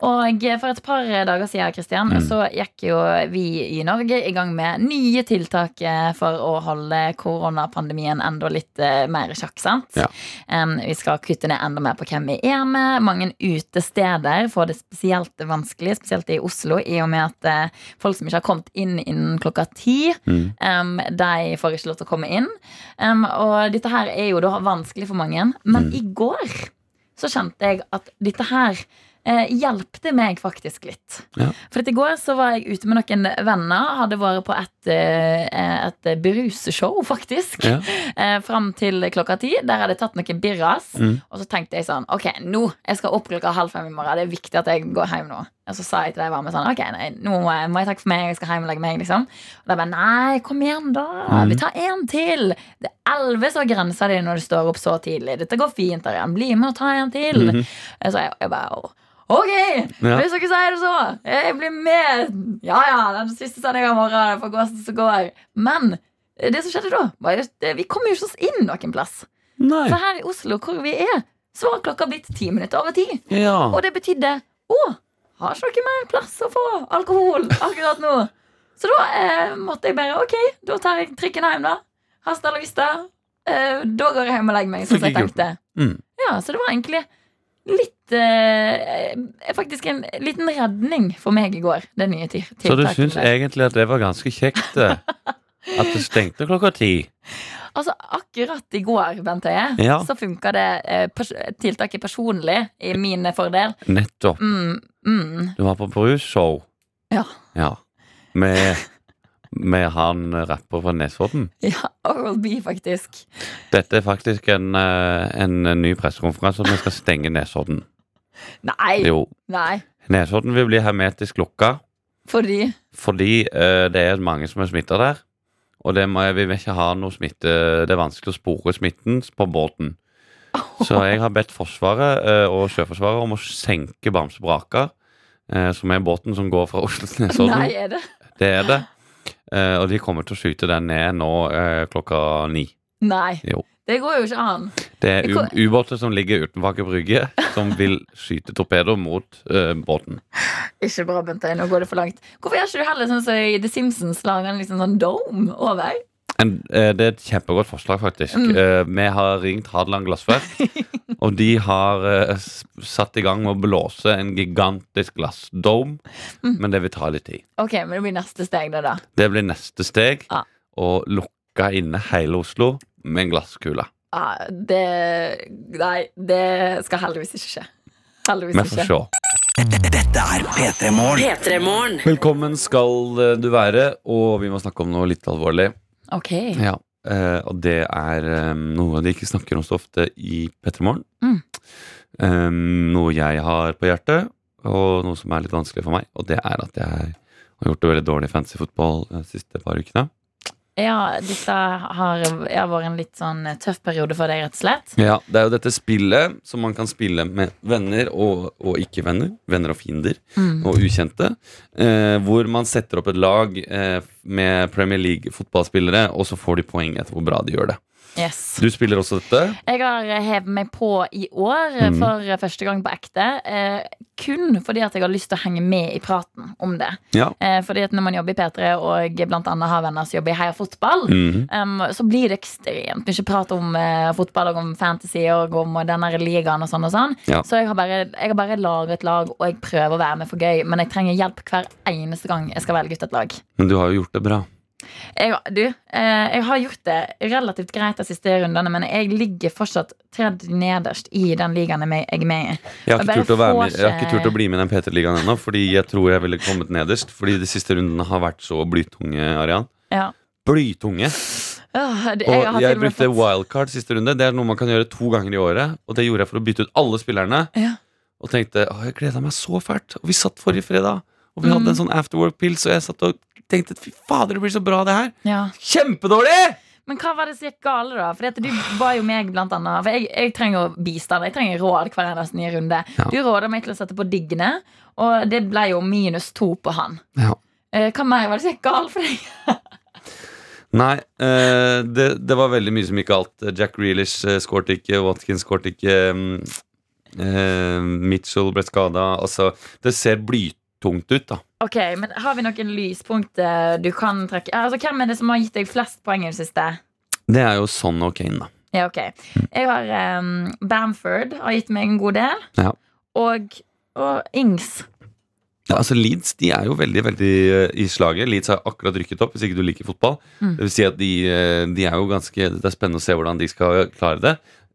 Og eh, for et par dager siden Kristian, Mm. så gikk jo vi i Norge i gang med nye tiltak eh, for å holde koronapandemien enda litt eh, mer i sjakk. sant? Ja. Em, vi skal kutte ned enda mer på hvem vi er med. Mange utesteder får det spesielt vanskelig, spesielt i Oslo, i og med at eh, folk som ikke har kommet inn innen klokka ti, Mm. em, de får ikke lov til å komme inn. Em, og dette her er jo da vanskelig for mange. Men i går så kjente jeg at dette her eh, hjelpte meg faktisk litt. Ja. For at i går så var jeg ute med noen venner, hadde vært på et, eh, et bruseshow, faktisk. Ja. Eh, Fram til klokka ti. Der hadde jeg tatt noen birras. Mm. Og så tenkte jeg sånn Ok, nå, jeg skal opp klokka halv fem i morgen. Det er viktig at jeg går hjem nå. Og så sa jeg til de varme sånn Ok, nei, nå må jeg- må jeg takke for meg. Jeg skal hjem og legge meg, liksom. Og de bare Nei, kom igjen, Mm. da. Vi tar en til. Det er elleve som er grensa di når du står opp så tidlig. Dette går fint, Arian. Bli med og ta en til. Mm-hmm. Så jeg, jeg bare «Å, Ok! Mhm. Ja. Hvis dere sier det så. Jeg blir med. Ja ja, den siste sendinga i morgen. Det får gå som det går. Men eh, det som skjedde da, var jo at vi kom jo ikke oss inn noen plass. Nei. For her i Oslo, hvor vi er, så var klokka blitt ti minutter over ti. Og Ja. det betydde Å, har ikke dere mer plass å få alkohol akkurat nå? Så da eh, måtte jeg bare Ok, da tar jeg trikken hjem, da. Hasta la vista. Eh, da går jeg hjem og legger meg, Sånn som Fikk jeg ikke gjort tenkte. Mm. Ja, så det var egentlig litt eh, Faktisk en liten redning for meg i går, det nye ti- Så du tiltaket syns der. egentlig at det var ganske kjekt eh, at det stengte klokka ti? Altså, akkurat i går, Bent Høie, Ja. så funka det eh, pers tiltaket personlig i min fordel. Nettopp. Mm, mm. Du var på brusshow. Ja. ja. Med, med han eh, rapper fra Nesodden. Ja, Oral B, faktisk. Dette er faktisk en, eh, en ny pressekonferanse, og vi skal stenge Nesodden. Nei! Jo. Nei. Nesodden vil bli hermetisk lukka Fordi fordi eh, det er mange som er smitta der. Og det må, vi vil ikke ha noe smitte Det er vanskelig å spore smitten på båten. Så jeg har bedt Forsvaret eh, og Sjøforsvaret om å senke Bamse Braka, eh, som er båten som går fra Oslo til Nesodden. Nei, er det? Det er det. Eh, og de kommer til å skyte den ned nå eh, klokka ni. Nei. Jo. Det går jo ikke an. Det er Jeg u- kom- ubåter som ligger utenfor Aker Brygge, som vil skyte torpedoer mot eh, båten. Ikke bra, Bent Høie. Nå går det for langt. Hvorfor gjør ikke du heller sånn som i The Simpsons lager en liksom sånn dome over? En, eh, det er et kjempegodt forslag, faktisk. Mm. Eh, vi har ringt Hadeland Glassverk, og de har eh, s- satt i gang med å blåse en gigantisk glassdome, men det vil ta litt tid. Ok, men det blir neste steg, da. da. Det blir neste steg Ja. å lukke inne hele Oslo med en glasskule. Ah, det Nei, det skal heldigvis ikke skje. Vi Heldigvis får ikke. se. Dette er P3 Morgen. P3-morgen. Velkommen skal eh, du være, og vi må snakke om noe litt alvorlig. Ok. Ja, eh, og det er eh, noe de ikke snakker om så ofte i Pettermorgen. Mm. Eh, noe jeg har på hjertet, og noe som er litt vanskelig for meg. Og det er at jeg har gjort det veldig dårlig i fancy fotball eh, de siste par ukene. Ja, dette har, har vært en litt sånn tøff periode for deg, rett og slett. Ja, Det er jo dette spillet som man kan spille med venner og, og ikke-venner. Venner og fiender Mm. og ukjente. Eh, hvor man setter opp et lag eh, med Premier League-fotballspillere, og så får de poeng etter hvor bra de gjør det. Yes. Du spiller også dette. Jeg har eh, hevet meg på i år eh, Mhm. for eh, første gang på ekte. Eh, kun fordi at jeg har lyst til å henge med i praten om det. Ja. Eh, fordi at når man jobber i P3 og blant annet har venner som jobber i Heia Fotball, Mhm. em, så blir det ekstremt mye prat om eh, fotball og om fantasy og om denne ligaen og sånn og sånn. Ja. Så jeg har bare, jeg har bare laget et lag, og jeg prøver å være med for gøy. Men jeg trenger hjelp hver eneste gang jeg skal velge ut et lag. Men du har jo gjort det bra. Jeg, du, eh, jeg har gjort det relativt greit de siste rundene, men jeg ligger fortsatt tredje nederst i den ligaen jeg er med- jeg er med i. Jeg har, Og ikke bare turt å være med, får jeg har ikke seg- turt å bli med i den P3-ligaen ennå, fordi jeg tror jeg ville kommet nederst. Fordi de siste rundene har vært så blytunge, Arian. Ja. Blytunge! Åh, det- Og har til jeg og med brukte fått- wildcard siste runde. Det er noe man kan gjøre to ganger i året, og det gjorde jeg for å bytte ut alle spillerne. Ja. Og tenkte å, jeg gleda meg så fælt. Og vi satt forrige fredag, og vi Mm. hadde en sånn afterwork-pils, og jeg satt og tenkte fy fader, det blir så bra, det her. ja. Kjempedårlig! Men hva var det som gikk gale, da? Fordi at du ba jo meg, blant annet. For jeg, jeg trenger jo bistand. Jeg trenger råd hver eneste nye runde. Ja. Du råda meg til å sette på Digne, og det ble jo minus to på han. Ja. Eh, Hva mer var det som gikk galt for deg? Nei, eh, det, det var veldig mye som gikk galt. Jack Grealish eh, skårte ikke, Watkins skårte ikke. mm, eh, Mitchell ble skada. Altså, det ser blytungt ut, da. Ok, men Har vi noen lyspunkt eh, du kan trekke? Altså, Hvem er det som har gitt deg flest poeng i det siste? Det er jo sånn og Kane, da. Ja, ok. Jeg har um, Bamford har gitt meg en god del. Ja. Og, og Ings. Ja, altså Leeds de er jo veldig veldig eh, i slaget. Leeds har akkurat rykket opp, hvis ikke du liker fotball. Mm. Det vil si at de, eh, de er jo ganske Det er spennende å se hvordan de skal klare det.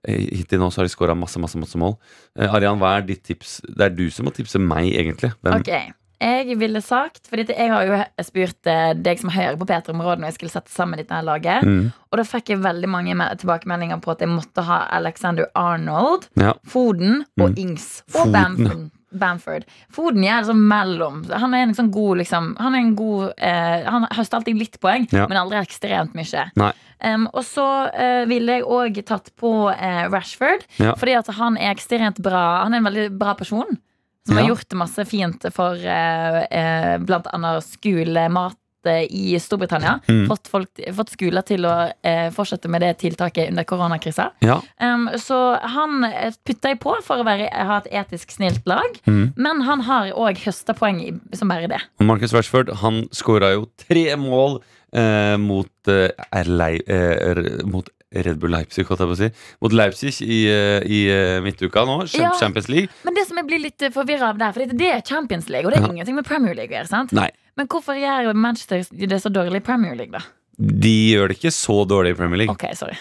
Eh, Hittil nå så har de skåra masse, masse, masse mål. Eh, Arian, hva er ditt tips? Det er du som må tipse meg, egentlig. Hvem, Ok. Jeg ville sagt, fordi at jeg har jo spurt eh, deg som hører på P3-området når jeg skulle sette sammen dette her laget, Mm. og da fikk jeg veldig mange me- tilbakemeldinger på at jeg måtte ha Alexander Arnold, Ja. Foden og Ings. Og Mm. Foden. Bamford. Bamford. Foden er liksom mellom. Han er en sånn god liksom Han er en god eh, Han høster alltid litt poeng, Ja. men aldri ekstremt mye. Nei. Em, og så eh, ville jeg òg tatt på eh, Rashford, Ja. fordi at han er ekstremt bra. Han er en veldig bra person. Som har Ja. gjort masse fint for eh, eh, blant annet skolemat eh, i Storbritannia Mm. fått, folk, fått skoler til å eh, fortsette med det tiltaket under koronakrisa. Ja. Um, så han eh, putta jeg på for å være, ha et etisk snilt lag. Mm. Men han har òg høsta poeng i, som bare det. Og Marcus Rashford han skåra jo tre mål eh, mot, eh, er lei, eh, er- mot Red Bull Leipzig, holdt jeg på å si. Mot Leipzig i, eh, i eh, midtuka nå. Champ- Ja. Champions League. Men det som jeg blir litt forvirra av der, for det er Champions League, og det er ingenting med Premier League å gjøre. sant? Nei. Men hvorfor gjør Manchester det så dårlig i Premier League, da? De gjør det ikke så dårlig i Premier League. Ok, sorry.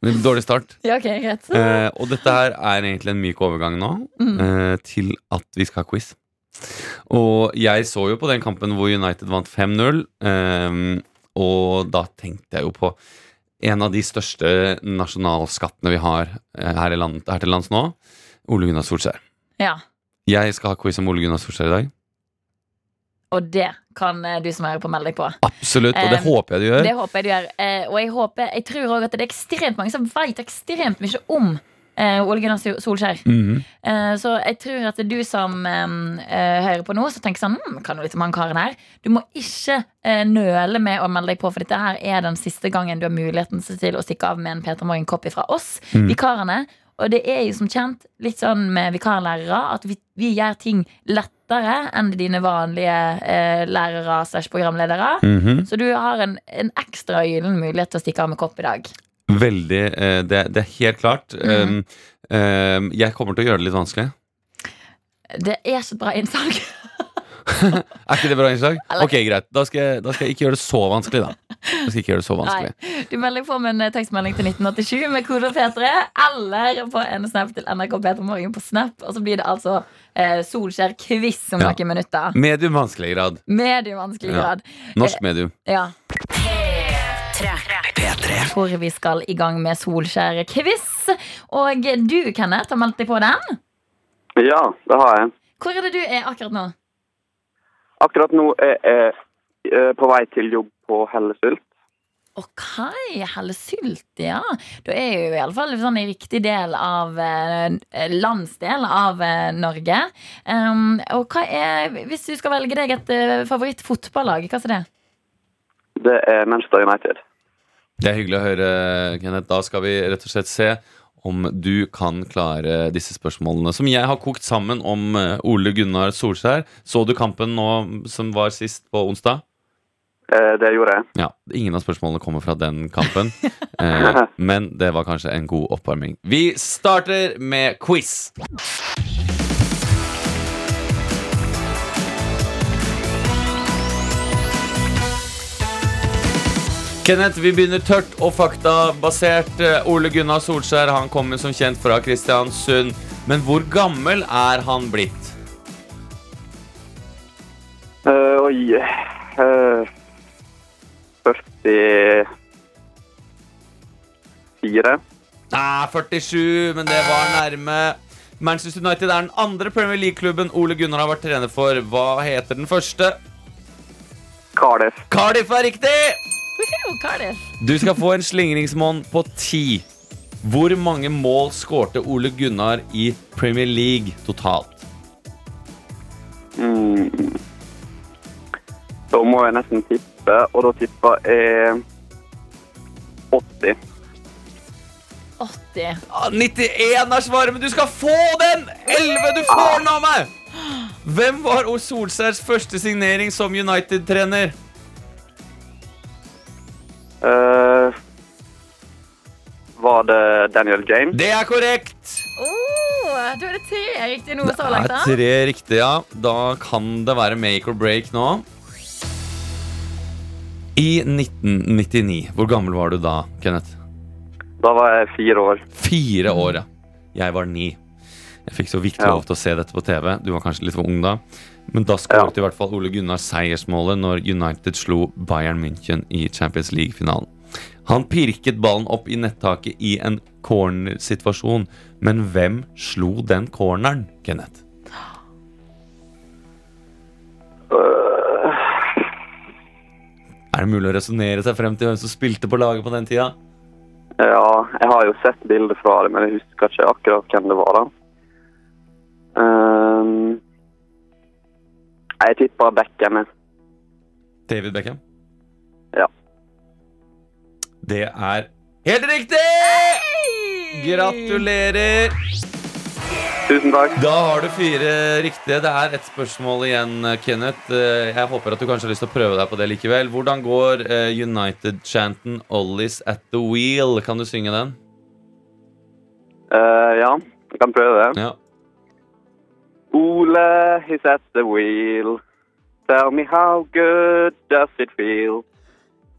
Men Dårlig start. Ja, ok, greit. Eh, og dette her er egentlig en myk overgang nå Mm. eh, til at vi skal ha quiz. Og jeg så jo på den kampen hvor United vant 5-0, eh, og da tenkte jeg jo på en av de største nasjonalskattene vi har eh, her, i land, her til lands nå, Ole Gunnar Solskjær. Ja, Jeg skal ha quiz om Ole Gunnar Solskjær i dag. Og det kan eh, du som hører på, melde deg på. Absolutt, og det Eh, håper jeg du gjør. Det håper jeg du gjør. Eh, og jeg, håper, jeg tror òg at det er ekstremt mange som veit ekstremt mye om eh, Ole Gunnar Sol- Solskjær. Mhm. Eh, så jeg tror at du som eh, eh, hører på nå, så tenker sånn hm, Kan jo litt om han karen her. Du må ikke eh, nøle med å melde deg på, for dette her er den siste gangen du har muligheten til å stikke av med en Peter Morgen-kopp fra oss, vikarene. Og det er jo som kjent litt sånn med vikarlærere at vi, vi gjør ting lettere enn dine vanlige eh, lærere slash programledere. Mhm. Så du har en, en ekstra gyllen mulighet til å stikke av med kopp i dag. Veldig eh, det, det er helt klart. Mhm. Um, um, jeg kommer til å gjøre det litt vanskelig. Det er ikke et bra innsalg. Er ikke det bra innslag? Eller- Ok, greit. Da skal, jeg, da skal jeg ikke gjøre det så vanskelig, da. Da skal jeg ikke gjøre det så vanskelig. Du melder deg på med en eh, tekstmelding til 1987 med kode P3, eller på en snap til NRK P3 Morgen på Snap, og så blir det altså eh, Solskjær-quiz om Ja. noen minutter. Medium vanskelig grad. Medievanskelig Ja. grad. Norsk medium. Ja. P3. Hvor vi skal i gang med Solskjær-quiz. Og du, Kenneth, har meldt deg på den. Ja, det har jeg. Hvor er det du er akkurat nå? Akkurat nå er jeg eh, på vei til jobb på Hellesylt. Ok, Hellesylt, ja. Da er jo i alle fall sånn i riktig del av eh, landsdel av eh, Norge. Um, og hva er, hvis du skal velge deg et eh, favorittfotballag, hva er det? Det er Manchester United. Det er hyggelig å høre, Kenneth. Da skal vi rett og slett se om du kan klare disse spørsmålene som jeg har kokt sammen om eh, Ole Gunnar Solskjær. Så du kampen nå som var sist på onsdag? Eh, det gjorde jeg. Ja, Ingen av spørsmålene kommer fra den kampen. Eh, men det var kanskje en god oppvarming. Vi starter med quiz. Kenneth, vi begynner tørt og faktabasert. Eh, Ole Gunnar Solskjær han kommer som kjent fra Kristiansund. Men hvor gammel er han blitt? Eh, oi eh, 44 Nei, 47, men det var nærme. Manchester United er den andre Premier League-klubben Ole Gunnar har vært trener for. Hva heter den første? Cardiff. Cardiff er riktig! Woohoo, Cardiff. Du skal få en slingringsmonn på ti. Hvor mange mål skårte Ole Gunnar i Premier League totalt? Mm. Da må jeg nesten tippe, og da tipper jeg 80. 80. Ah, 91 er svaret, men du skal få den! 11, du får den av meg! Hvem var Ole Solskjærs første signering som United-trener? Eh, var det Daniel James? Det er korrekt! Oh, da er det tre riktige noe så Det langt, er da. tre riktige, ja. Da kan det være make or break nå. I 1999, hvor gammel var du da, Kenneth? Da var jeg fire år. Fire år, ja. Jeg var ni. Jeg fikk så vidt Ja. lov til å se dette på TV. Du var kanskje litt for ung da. Men da skåret i hvert fall Ole Gunnar seiersmålet når United slo Bayern München i Champions League-finalen. Han pirket ballen opp i nettaket i en cornersituasjon, men hvem slo den corneren, Kenneth? Eh, Er det mulig å resonnere seg frem til hvem som spilte på laget på den tida? Ja, jeg har jo sett bilder fra det, men jeg husker ikke akkurat hvem det var da. Ehm, jeg tipper Beckham. jeg. David Beckham? Ja. Det er helt riktig! Gratulerer! Tusen takk. Da har du fire riktige. Det er ett spørsmål igjen, Kenneth. Eh, Jeg håper at du kanskje har lyst til å prøve deg på det likevel. Hvordan går eh, United-chanten 'Ollies at the wheel'? Kan du synge den? Eh, ja, jeg kan prøve det. Ja. Ole, he's at the wheel. Tell me how good does it feel?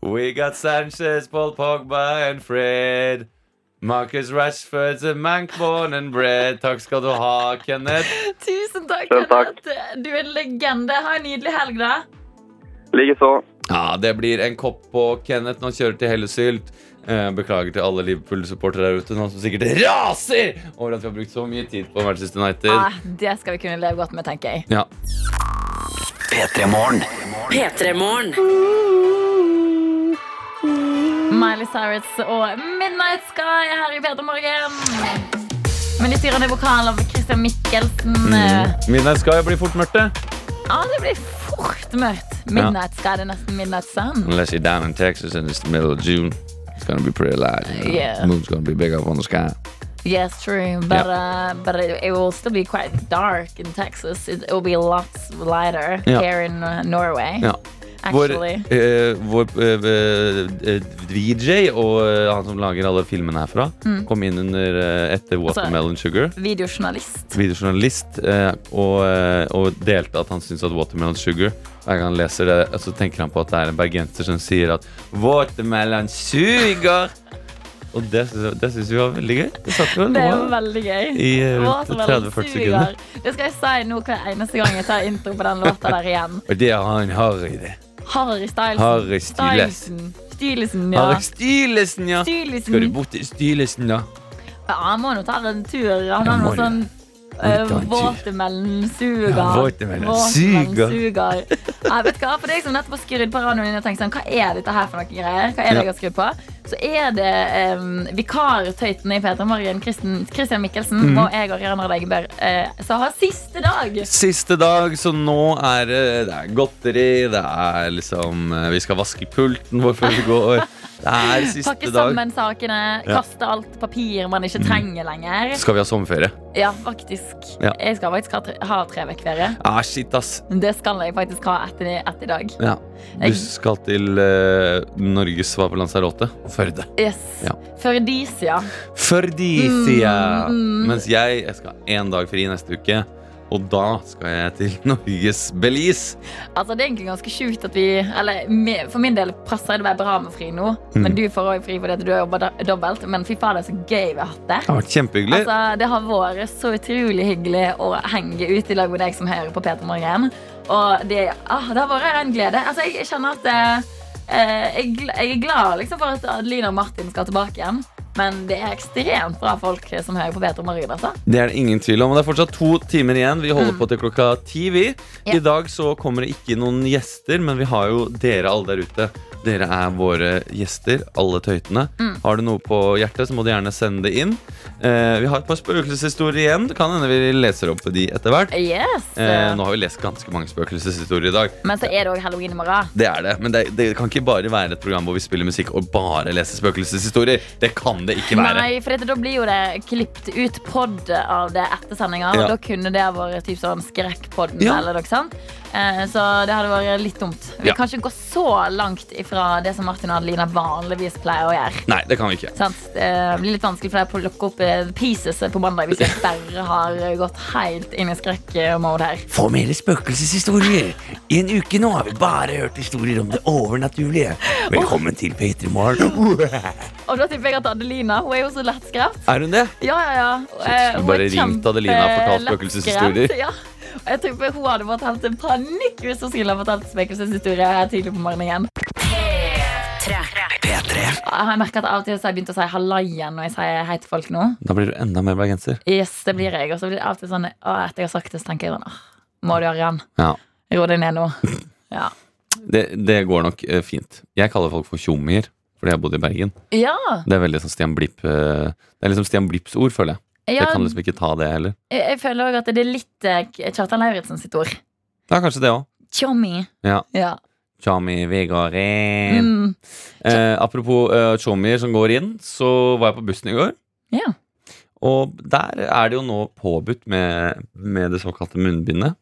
We got Sanchez, Paul Pogba and Fred. Marcus Rashford's a mank born and bred. Takk skal du ha, Kenneth. Tusen takk, Selv takk. Kenneth. Du er en legende. Ha en nydelig helg, da. Likeså. Ja, det blir en kopp på Kenneth når han kjører til Hellesylt. Eh, Beklager til alle Liverpool-supportere der ute nå som sikkert raser over at vi har brukt så mye tid på Manchester United. Ja, Ah, det skal vi kunne leve godt med, tenker jeg. Ja. P3 Morgen. P3-morgen. Miley Cyrus og Midnight Sky her i Peter Morgen. Med litt dyrende vokal av Christian Michelsen. Mm. Midnight Sky blir fort mørkt, det. Ja, ah, det blir fort mørkt. Midnight Sky det er nesten Midnight Sun. Unless you're down in Texas and it's the middle of June. It's gonna be pretty light. You know? Yeah. Moon's gonna be big up on the sky. Yes, true. But, uh, but it, it will still be quite dark in Texas. It, it will be lots lighter Ja. here in uh, Norway. Ja. Vår, Actually. eh, vår eh, eh, VJ og eh, han som lager alle filmene herfra, Mm. kom inn under eh, etter Altså, Watermelon Sugar. Videojournalist. videojournalist eh, og, eh, og delte at han syns at Watermelon Sugar Hver gang han leser det, så tenker han på at det er en bergenser som sier at Watermelon sugar! Og det, synes- det syns vi var veldig gøy. Det satt vel Det er nå veldig gøy. i eh, rundt Watermelon 30-40 sekunder. suger. Det skal jeg si nå hver eneste gang jeg tar intro på den låta der igjen. Og det har han Harry, det. Harry Stylesen. Harry Styles. Stylesen. Stylesen, ja. Harry Stylesen, ja. Skal du Stylesen. bort til Stylesen, da? Ja, han må nå ta en tur. Han har må noe det. sånn ta en tur. Våtemelnsuger. Ja, watermelonsuger. Jeg vet du hva, For deg som nettopp har skrudd på radioen din og tenkt sånn, hva er dette her for noen greier, Hva er det Ja. jeg har skrudd på? Så er det um, vikartøyten i Peter Morgen, Kristen, Christian Mikkelsen, og jeg og Rihanna Degebør, uh, som har siste dag. Mhm. Siste dag, så nå er det, det er godteri, det er liksom eh, Vi skal vaske pulten vår før vi går. Det er Pakke siste dag. sammen sakene, Ja. Mhm. kaste alt papir man ikke trenger lenger. Skal vi ha sommerferie? Ja, faktisk. Ja. Jeg skal faktisk ha tre, ha tre vekkferie. Ah, shit, ass. Det skal jeg faktisk ha etter, etter i dag. Ja. Du Jeg- skal til eh, Norges svar på Lanzarote. Førde. Yes. Ja. Førdisia. Førdisia! Mm, mm. Mens jeg, jeg skal ha én dag fri neste uke. Og da skal jeg til Norges Belize. Altså, det er egentlig ganske sjukt at vi Eller me- for min del passer det å være bra med fri nå, Mm. men du får òg fri fordi at du har jobba do- dobbelt. Men fy fader, så gøy vi har hatt det. Det har vært kjempehyggelig. Altså, det har vært så utrolig hyggelig å henge ut i lag med deg som hører på Peter Morgen. Og det, ah, det har vært en glede. Altså, jeg, jeg kjenner at eh, eh, jeg, gl- jeg er glad liksom, for at Adelina og Martin skal tilbake igjen. Men det er ekstremt bra folk som hører på Peter Morgen. Altså. Det er det ingen tvil om. og Det er fortsatt to timer igjen. Vi holder på til klokka ti. vi. Mm. Ja. I dag så kommer det ikke noen gjester, men vi har jo dere alle der ute. Dere er våre gjester, alle tøytene. Mm. Har du noe på hjertet, så må du gjerne sende det inn. Eh, vi har et par spøkelseshistorier igjen. Det kan hende vi leser opp de etter hvert. Yes. Eh, nå har vi lest ganske mange spøkelseshistorier i dag. Men så er det òg halloween i morgen. Det er det, Men det, det kan ikke bare være et program hvor vi spiller musikk og bare leser spøkelseshistorier. Det kan det ikke være. Nei, for dette, da blir jo det klippet ut pod av det etter sendinga. Ja. Og da kunne det ha vært typ sånn skrekkpodden. Ja. Eller noe sånt. Eh, så det hadde vært litt dumt. Vi Ja. kan ikke gå så langt ifra det som Martin og Adelina vanligvis pleier å gjøre. Nei, det kan vi ikke. Sant? Eh, Det blir litt vanskelig for deg å plukke opp eh, pieces på mandag hvis jeg bare har gått helt inn i skrekk-mode her. Få mer spøkelseshistorier. I en uke nå har vi bare hørt historier om det overnaturlige. Velkommen til P3 Morgen. Og da tipper jeg at Adelina hun er jo så lettskremt. Er hun det? Ja, ja, ja. Eh, hun bare er ringt Adelina og fortalt kjempe- spøkelseshistorier. lettskremt, Ja. Og Jeg tror hun hadde fått helt en panikk hvis hun skulle ha fortalt spøkelseshistorier her tidlig på morgenen. P3. Jeg har merket at Av og til så har jeg begynt å si halaien når jeg sier hei til folk nå. Da blir du enda mer bergenser. Yes, det blir jeg. Og så blir det av og til sånn å, Etter jeg har sagt det, så tenker jeg sånn åh, Må du, Arian? Ja. Ro deg ned nå. Ja. Det, det går nok eh, fint. Jeg kaller folk for tjommier fordi jeg bodde i Bergen. Ja, Det er veldig sånn Stian Blipp eh, Det er liksom Stian Blipps ord, føler jeg. Jeg ja kan liksom ikke ta det heller. jeg, jeg føler òg at det er litt eh, Kjartan Lauritzen sitt ord. Ja, kanskje det òg. Tjommi. Ja. Ja. Tjommi, vi går inn. Mm. Eh, apropos eh, tjommi som går inn, så var jeg på bussen i går. Ja. Og der er det jo nå påbudt med, med det såkalte munnbindet.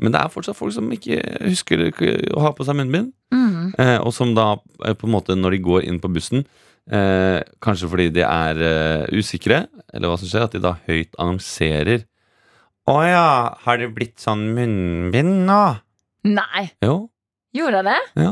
Men det er fortsatt folk som ikke husker å ha på seg munnbind. Mm. Eh, og som da, eh, på en måte når de går inn på bussen, eh, kanskje fordi de er eh, usikre, eller hva som skjer, at de da høyt annonserer Å ja, har det blitt sånn munnbind nå? Nei. Jo. Gjorde det? Ja.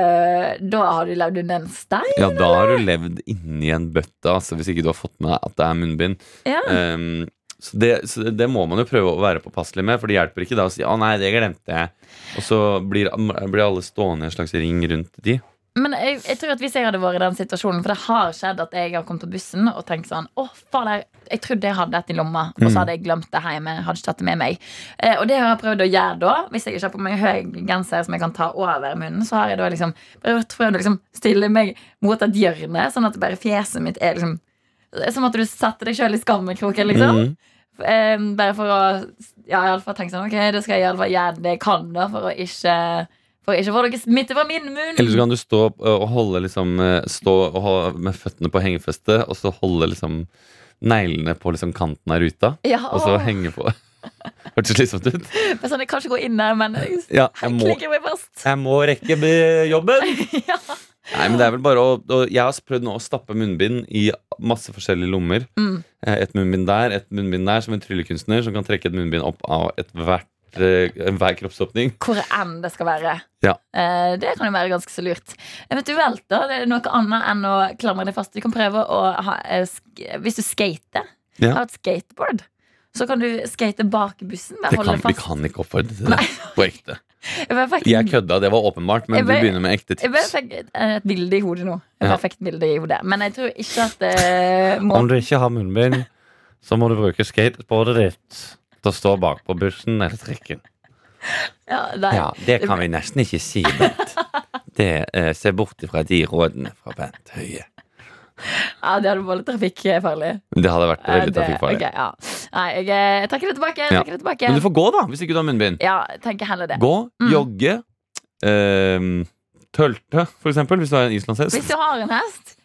Eh, da har du levd under en stein? Ja, da har du levd inni en bøtte, altså, hvis ikke du har fått med deg at det er munnbind. Ja. Ehm, så, det, så det må man jo prøve å være påpasselig med, for det hjelper ikke da å si 'Å nei, det glemte jeg', og så blir, blir alle stående i en slags ring rundt de. Men jeg, jeg tror at hvis jeg hadde vært i den situasjonen For det har skjedd at jeg har kommet på bussen og tenkt sånn Å, faen, jeg, jeg trodde jeg hadde dette i lomma, og så hadde jeg glemt det hjemme. Hadde ikke tatt det med meg. Eh, og det har jeg prøvd å gjøre da. Hvis jeg ikke har på meg høy genser som jeg kan ta over munnen, så har jeg da liksom prøvd, prøvd å liksom stille meg mot et hjørne, sånn at bare fjeset mitt er liksom Som at du setter deg sjøl i skammekroken, liksom. Mhm. Eh, bare for å ja, i alle fall tenke sånn Ok, da skal jeg i alle fall gjøre det jeg kan, da, for å ikke For å ikke få noe smitte fra min munn. Eller så kan du stå opp, ø, og holde liksom ø, Stå og ha, med føttene på hengefestet, og så holde liksom neglene på liksom kanten av ruta, ja, og så åh. henge på. Hørtes slitsomt ut. Men sånn, jeg kan ikke gå inn der, men jeg Ja, jeg må, klikker meg fast. jeg må rekke be- jobben! Ja. Nei, men det er vel bare å, å Jeg har prøvd nå å stappe munnbind i masse forskjellige lommer. Mm. Eh, Et munnbind der, et munnbind der, som en tryllekunstner som kan trekke et munnbind opp av et hvert, eh, enhver kroppsåpning. Hvor enn det skal være. Ja. Eh, det kan jo være ganske så lurt. Eventuelt da, det er noe annet enn å klamre deg fast. Du kan prøve å ha, eh, sk Hvis du skater, Ja. ha et skateboard, så kan du skate bak bussen. Bare Det holde kan, deg vi fast. kan ikke oppfordre til det på ekte. Jeg bare fikk, Jeg kødda, det var åpenbart, men Jeg du bare- begynner med ekte jeg bare tips. fikk et, et bilde i hodet nå. Jeg Ja. bare fikk et bilde i hodet Men jeg tror ikke at det må Om du ikke har munnbind, så må du bruke skateboardet ditt til å stå bak på bussen eller trikken. ja, nei. det kan vi nesten ikke si, Bent. Det eh, ser bort ifra de rådene fra Bent Høie. ja, det hadde vært litt trafikkfarlig. Det hadde vært Ja, veldig Eh, det- trafikkfarlig. ok, ja. Nei, jeg, eh, jeg trekker det tilbake. Jeg Ja. trekker det tilbake. Men du får gå, da, hvis ikke du har munnbind. Ja, jeg tenker heller det. Gå, Mm. jogge, ehm, tølte, for eksempel, hvis du har en Hvis islandshest. du har en hest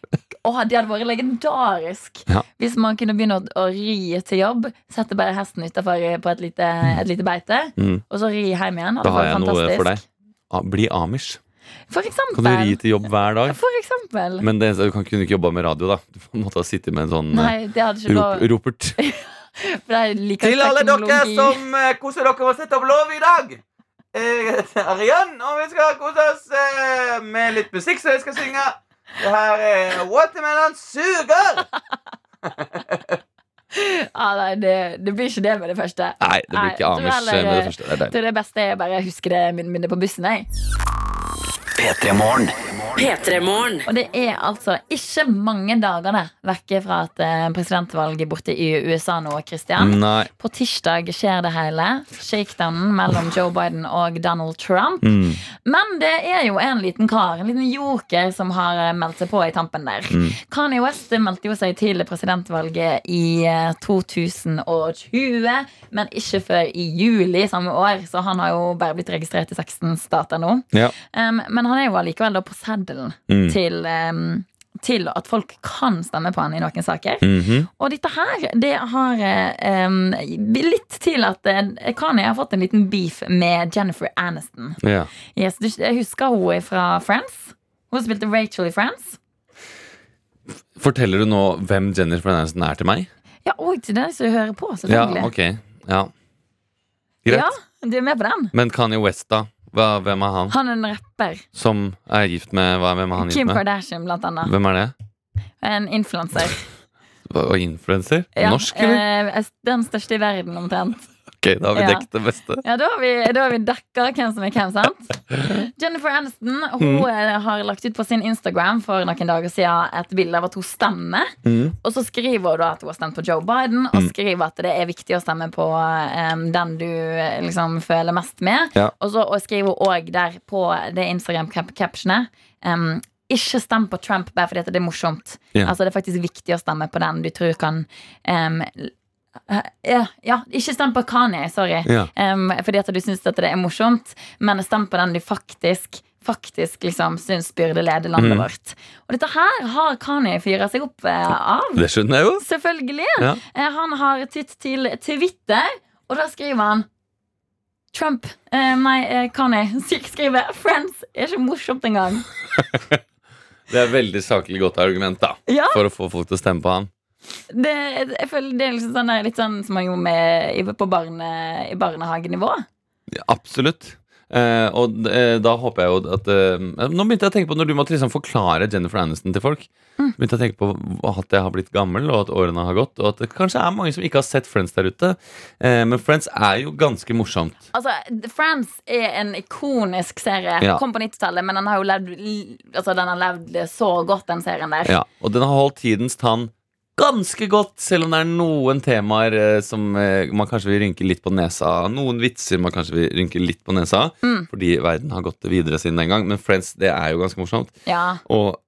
Åh, det hadde vært legendarisk Ja. Hvis man kunne begynne å, å ri til jobb Sette bare hesten utenfor eh, på et lite, et lite beite Mm. Og så ri hjem igjen hadde Da har vært jeg noe fantastisk. for deg. Ah, Bli amish. For eksempel Kan du ri til jobb hver dag? For eksempel Men det eneste, du kan kunne ikke jobbe med radio, da. Du får- måtte ha sittet med en sånn eh, Nei, det hadde ikke rop, lov ropert. For jeg liker Til alle dere teknologi. som eh, koser dere med å sette opp lov i dag. Jeg heter Arian, og vi skal kose oss eh, med litt musikk som jeg skal synge. Det her er Watermelon Suger. ja, nei, det, det blir ikke det med det første Nei, det blir Nei, jeg ikke tror amish heller- eh, med det første. Det er Jeg tror det beste er bare å huske det minnet på bussen jeg. P3-morgen. Og det er altså ikke mange dagene vekke fra at eh, presidentvalget borte i USA nå, Christian. deilig. Mm, Nei. På tirsdag skjer det hele. Shakedownen mellom Joe Biden og Donald Trump. Mm. Men det er jo en liten kar, en liten joker, som har eh, meldt seg på i tampen der. Kanye West meldte jo seg til presidentvalget i eh, 2020, men ikke før i juli samme år, så han har jo bare blitt registrert i 16 stater nå. Ja. Um, men han er jo allikevel da på seddelen Mm. til, um, til at folk kan stemme på han i noen saker. Mhm. Og dette her, det har eh, um, litt til at eh, Kanye har fått en liten beef med Jennifer Aniston. ja. Yes, du, jeg husker hun fra Friends. Hun spilte Rachel i Friends. Forteller du nå hvem Jennifer Aniston er til meg? Ja, og til deg som hører på, Ja, selvfølgelig. ok. Ja. Greit. Ja, du er med på den? Men Kanye West, da? Hva, hvem er han? Han er en rapper. Som er gift med hva, Hvem er han gift Kim med? Kardashian, blant annet. Hvem er det? En influenser. Og influenser? Ja, Norsk, eller? eh, den største i verden, omtrent. Ok, da har vi ja. dekket det beste. Ja, da har vi, da har vi dekka hvem som er hvem, sant? Jennifer Aniston hun Mm. eh, har lagt ut på sin Instagram for noen dager siden et bilde av at hun stemmer. Og så skriver hun da at hun har stemt på Joe Biden, Mm. og skriver at det er viktig å stemme på eh, den du eh, liksom føler mest med. Ja. Og så og skriver hun òg der på det Instagram-captionet em, ikke stem på Trump bare fordi at det er morsomt. Ja. Altså Det er faktisk viktig å stemme på den du tror kan em, Ja, ja, ikke stem på Kanye, sorry. Ja. Em, fordi at du syns at det er morsomt, men stem på den du faktisk Faktisk liksom syns burde lede landet Mm. Mhm. vårt. Og dette her har Kanye fyra seg opp eh, av. Det skjønner jeg jo. Selvfølgelig. Ja. Eh, Han har tytt til Twitter, og da skriver han Trump, eh, nei, eh, Kanye, syk skriver Friends er ikke morsomt engang. Det er veldig saklig godt argument da Ja. for å få folk til å stemme på han. Det, jeg føler det er liksom sånn der, litt sånn som man gjorde med, i- på barne, i barnehagenivå. Ja, absolutt. Eh, og eh, da håper jeg jo at eh, Nå begynte jeg å tenke på når du måtte liksom forklare Jennifer Aniston til folk. Mm. Begynte jeg å tenke på at jeg har blitt gammel, og at årene har gått. Og at det kanskje er mange som ikke har sett Friends der ute. Eh, men Friends er jo ganske morsomt. Altså, The Friends er en ikonisk serie. Ja. Kom på 90-tallet, men den har jo levd, li- altså, den har levd så godt, den serien der. Ja, og den har holdt tidens tann ganske godt, selv om det er noen temaer eh, som eh, man kanskje vil rynke litt på nesa av. Noen vitser man kanskje vil rynke litt på nesa av, Mm. fordi verden har gått videre siden den gang. Men Friends, det er jo ganske morsomt. Ja. Og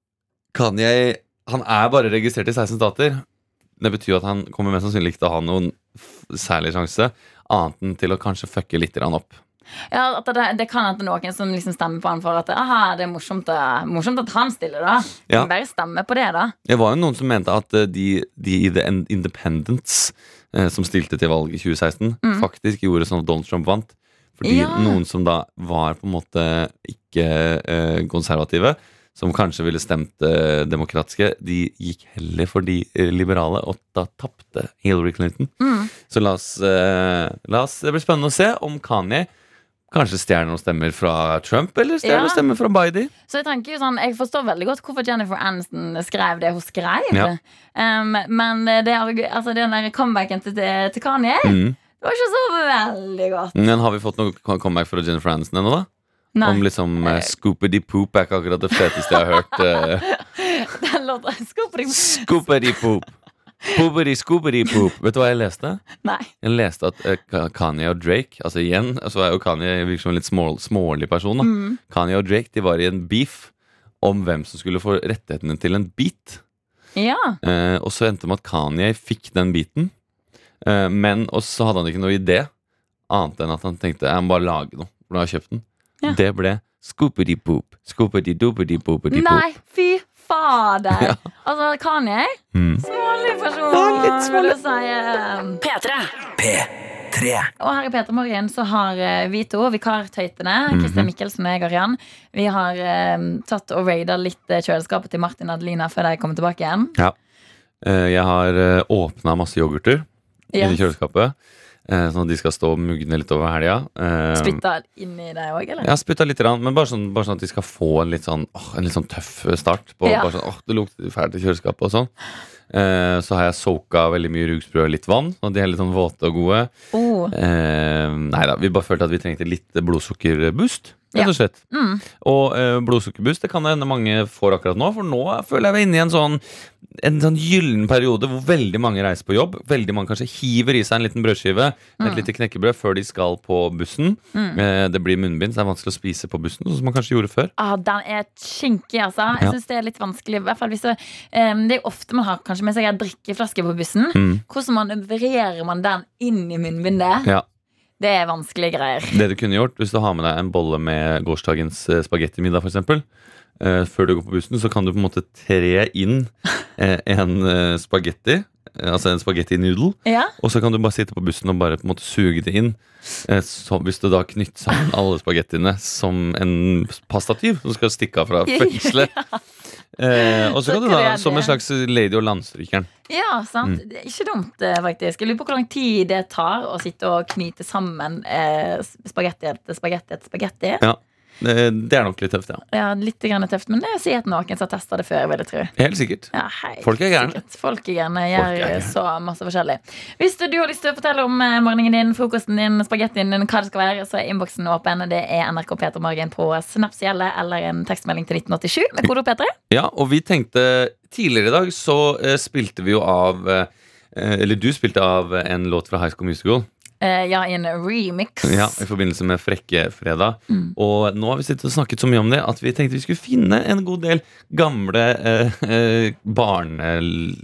Kanye, han er bare registrert i 16 stater. Det betyr jo at han kommer mest sannsynlig ikke til å ha noen f- særlig sjanse, annet enn til å kanskje fucke litt grann opp. Ja, at det, det kan hende noen som liksom stemmer på han for at aha, det er morsomt, eh, morsomt at han stiller, da. Ja. Men Bare stemme på det, da. Det var jo noen som mente at eh, de, de i The Ind- Independents eh, som stilte til valg i 2016, Mm. faktisk gjorde sånn at Donald Trump vant. Fordi Ja. noen som da var på en måte ikke eh, konservative, som kanskje ville stemt eh, demokratiske, de gikk heller for de eh, liberale, og da tapte Hillary Clinton. Mm. Så la oss, eh, la oss Det blir spennende å se om Kanye kanskje stjeler noen stemmer fra Trump, eller stjeler Ja. noen stemmer fra Biden. Så jeg tenker jo sånn, jeg forstår veldig godt hvorfor Jennifer Aniston skrev det hun skrev. Ja. Um, men det, argu- altså, den der comebacken til, til Kanye Mm. det var ikke så veldig godt. Men har vi fått noe comeback fra Jennifer Aniston ennå, da? Nei, Om liksom uh, Scoopity Poop er ikke akkurat det feteste jeg har hørt. Uh, den låta Skåper deg scoopity Poop. Poopity Scoopity Poop. Vet du hva jeg leste? Nei. Jeg leste at eh, Ka- Kanye og Drake Altså igjen, så er jo Kanye virker som en litt smål, smålig person. Da. Mm. Kanye og Drake de var i en beef om hvem som skulle få rettighetene til en beat. Ja. Eh, og så endte det med at Kanye fikk den beaten. Eh, men og så hadde han ikke noe idé, annet enn at han tenkte jeg må bare lage noe. For nå har jeg kjøpt den. Ja. Det ble scoopity poop. Scoopity doopity poopity poop. Nei, fy fader! Ja. Altså, Kanye Mm. Smålig person, vil jeg si. Um, P3. Og her i Peter Morgen så har eh, vi to vikartøytene, Mhm. Kristian Mikkelsen og jeg, Arian, vi har eh, tatt og raida litt eh, kjøleskapet til Martin og Adelina før de kommer tilbake igjen. Eh, jeg har uh, åpna masse yoghurter Ja. inni kjøleskapet, eh, sånn at de skal stå og mugne litt over helga. Eh, Spytta inni deg òg, eller? Jeg har spytta litt, grann, men bare sånn, bare sånn at de skal få en litt sånn, åh, en litt sånn tøff start. På, Ja. bare sånn, åh, det lukter fælt i kjøleskapet og sånn. Eh, så har jeg soaka veldig mye rugsprø og litt vann, sånn at de er litt sånn våte og gode. Oh. Eh, nei da, vi bare følte at vi trengte litt blodsukkerboost. Rett Ja. og slett. Mm. Og eh, blodsukkerboost det kan det hende mange får akkurat nå, for nå føler jeg meg inne i en sånn En sånn gyllen periode hvor veldig mange reiser på jobb. Veldig mange kanskje hiver i seg en liten brødskive, et lite knekkebrød, før de skal på bussen. Mm. Eh, det blir munnbind, så det er vanskelig å spise på bussen, sånn som man kanskje gjorde før. Ah, den er kinkig, altså. Ja. Jeg synes det er litt vanskelig. I hvert fall hvis det, em, det er jo ofte man har kanskje med seg en drikkeflaske på bussen. Mm. Hvordan manøvrerer man den inn i munnbindet? Ja. Det er vanskelige greier. Det du kunne gjort hvis du har med deg en bolle med gårsdagens eh, spagettimiddag, for eksempel eh, Før du går på bussen, så kan du på en måte tre inn eh, en eh, spagetti. eh, Altså en spagetti-noodle. Ja, Og så kan du bare sitte på bussen og bare på en måte suge det inn. Eh, Så hvis du da knytter sammen alle spagettiene som en pastatyv som skal stikke av fra fengselet. Eh, og så kan Så du da, kreativ. som en slags lady og landstrykeren. ja sant? Mm. Det er ikke dumt, eh, faktisk. Jeg lurer på hvor lang tid det tar å sitte og knyte sammen eh, spagetti etter spagetti etter spagetti. Eh, Det er nok litt tøft, ja. Ja, litt grann tøft, men det er sikkert noen som har testa det før, vil jeg tro. Helt sikkert. Ja, hei. Folk er gærne. Sikkert. Folk er gjerne Folk er gjør gærne. så masse forskjellig. Hvis du har lyst til å fortelle om eh, morgenen din, frokosten din, spagettien din, hva det skal være, så er innboksen åpen. Det er NRK Peter Morgen på Snaps gjelde eller en tekstmelding til 1987 med kode P3. Ja, og vi tenkte Tidligere i dag så eh, spilte vi jo av eh, Eller du spilte av en låt fra High School Musical. eh, ja, i en remix. Ja, I forbindelse med Frekkefredag. Mm. Og nå har vi sittet og snakket så mye om det at vi tenkte vi skulle finne en god del gamle eh, eh, barne...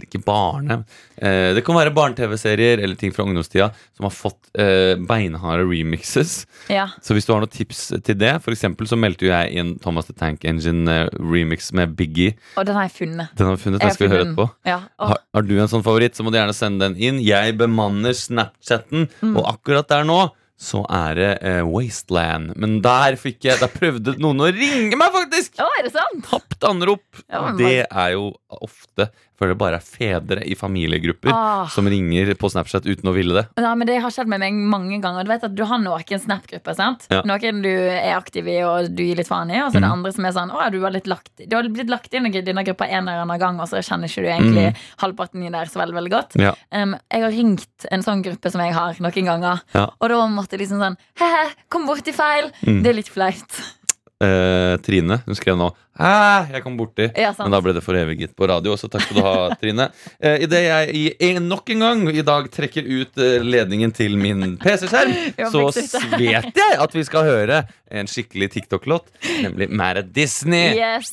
Ikke barne eh, Det kan være barne-TV-serier eller ting fra ungdomstida som har fått eh, beinharde remixes. Ja. Så hvis du har noen tips til det, for eksempel så meldte jo jeg inn Thomas the Tank Engine-remix med Biggie. Og den har jeg funnet. Den har vi funnet. Jeg Den skal vi høre funnet på. den. Ja. og- Har, har du en sånn favoritt, så må du gjerne sende den inn. Jeg bemanner Snapchatten, Mm. og akkurat der nå så er det eh, Wasteland. Men der fikk jeg Der prøvde noen å ringe meg, faktisk! Å, er det sant? Tapt anrop! Ja, men det er jo ofte For det bare er fedre i familiegrupper Ah. som ringer på Snapchat uten å ville det. Nei, men Det har skjedd med meg mange ganger. Du vet at du har noen Snap-grupper. sant? Ja. Mhm. Noen du er aktiv i og du gir litt faen i, og så er det andre som er sånn Å, du har, litt lagt, du har blitt lagt inn i denne gruppa en eller annen gang, og så kjenner ikke du egentlig halvparten i der så veldig, veldig godt. Mhm. Ja. Um, jeg har ringt en sånn gruppe som jeg har, noen ganger, Ja. og da måtte jeg liksom sånn He-he, kom borti feil! Mm. Det er litt flaut. Eh, Trine hun skrev nå Hæ, jeg kom borti. Ja, sant. Men da ble det foreviget på radio også. Takk skal du ha, Trine. Eh, Idet jeg i en, nok en gang i dag trekker ut eh, ledningen til min PC-skjerm, Ja, så fikk du det. vet jeg at vi skal høre en skikkelig TikTok-låt, nemlig Mad at Disney. Yes.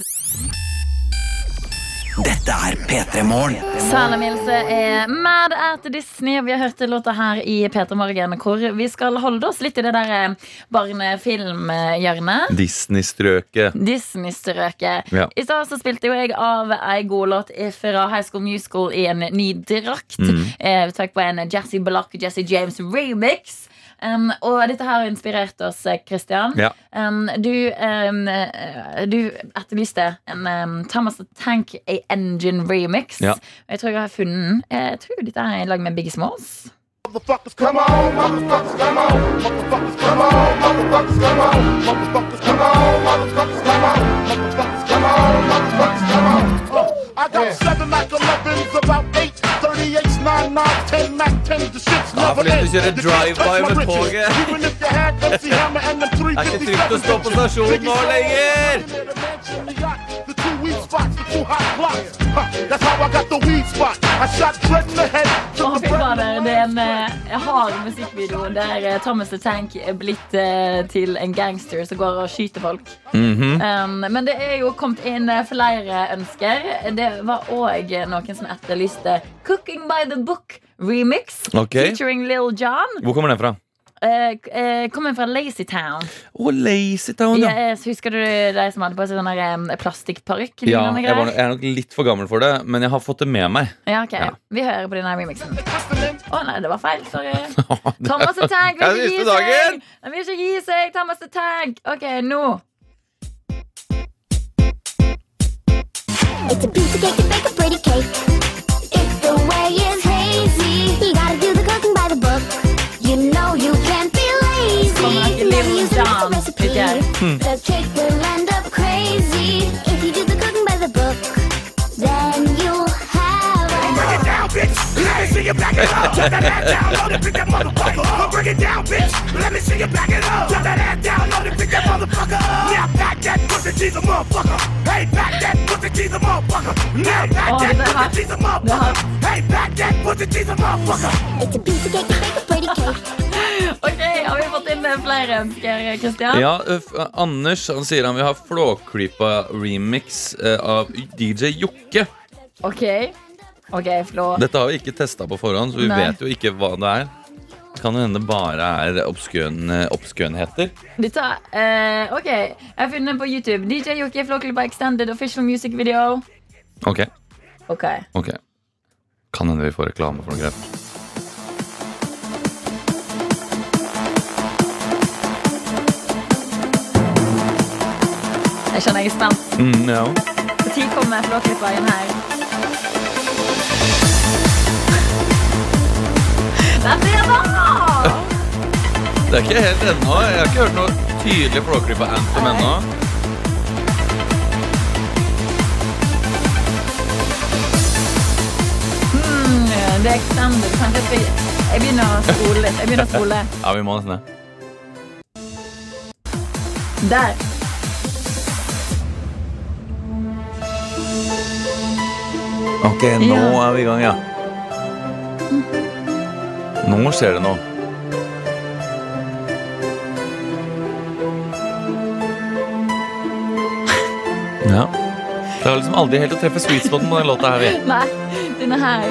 Dette er P3 Morgen. Salam Ilse er mad at Disney. og Vi har hørt den låta her i P3 Morgen, hvor vi skal holde oss litt i det der eh, barnefilmhjørnet. Disney-strøket. Disney-strøket. Ja. I stad så spilte jo jeg av ei godlåt fra High School Musical i en ny drakt. Mm. Eh, vi tok på en Jazzy Balak og Jazzy James remix. Um, og dette her har inspirert oss, eh, Christian. Ja. Um, du, um, eh, du etterlyste en um, Thomas the Tank A Engine remix. Ja. Og jeg tror jeg har funnet den. Jeg tror dette er i lag med Biggie Smalls. Oh, I got seven Mac 11s, about eight 38s, nine nines, ten Mac 10s, the shit's Ja, never for det er ends. du kjører The drive-by touch my med riches. toget. Even if you had MC Hammer and them Det er ikke trygt å stå på 357 stasjonen nå lenger! The mansion, the yacht, the two weed spots, the two hot blocks. Huh, That's how I got the weed spot. I shot Dredd in the head, Å, took the fy bread fader, det er en eh, hard musikkvideo der eh, Thomas the Tank er blitt eh, til en gangster som går og skyter folk. mhm. um, men det er jo kommet inn eh, flere ønsker. Det var òg noen som etterlyste 'Cooking by the Book' remix Ok. featuring Lil Jon. Hvor kommer den fra? Eh, eh, kommer fra Lazy Town. Å, Lazy Town, ja. Ja, eh, så husker du de som hadde på seg sånn der, eh, plastikkparykk? Ja, lignende jeg, var, greier? jeg er nok litt for gammel for det, men jeg har fått det med meg. ja, ok. Ja. Vi hører på denne remixen. Å nei, det var feil. Sorry. Det Thomas the Tank Jeg vil ikke gi visste dagen! seg! Han vil ikke gi seg, Thomas the Tank! Ok, nå. It's a piece of cake to bake a pretty cake. If the way is hazy, you gotta do the cooking by the book. You know you can't be Kommer lazy. ikke Never use the Lil Jon, recipe. vet jeg. The cake will end up crazy if you do the cooking by the book. Then you'll have a Å, det her. Det her. It's a piece of cake to bake a pretty cake. Ok, har vi fått inn eh, flere ønsker, Kristian? Ja, ø, f- eh, Anders han sier han vil ha Flåklypa remix eh, av DJ Jokke. Ok. Ok, Flå. Dette har vi ikke testa på forhånd, så vi Nei. vet jo ikke hva det er. Kan jo hende bare er obskøn, eh, obskønheter. Dette, eh, ok, jeg har funnet den på YouTube. DJ Jokke Flåklypa Extended Official Music Video. Ok, Ok. ok Kan hende vi får reklame for noe greier. Jeg kjenner jeg er spent. Mm, ja. Når kommer Flåklypa inn her? Dette er bra! Det er ikke helt ennå. Jeg har ikke hørt noe tydelig Flåklypa-anthem ennå. Mm, Det er extended. Kanskje jeg skal Jeg begynner å spole litt. Jeg begynner å spole. Ja, vi må nesten det. Der. Ok, nå Ja. er vi i gang, ja. Nå skjer det noe. Ja. Det er liksom aldri helt å treffe sweet spoten på den låta her. vi. Nei, denne her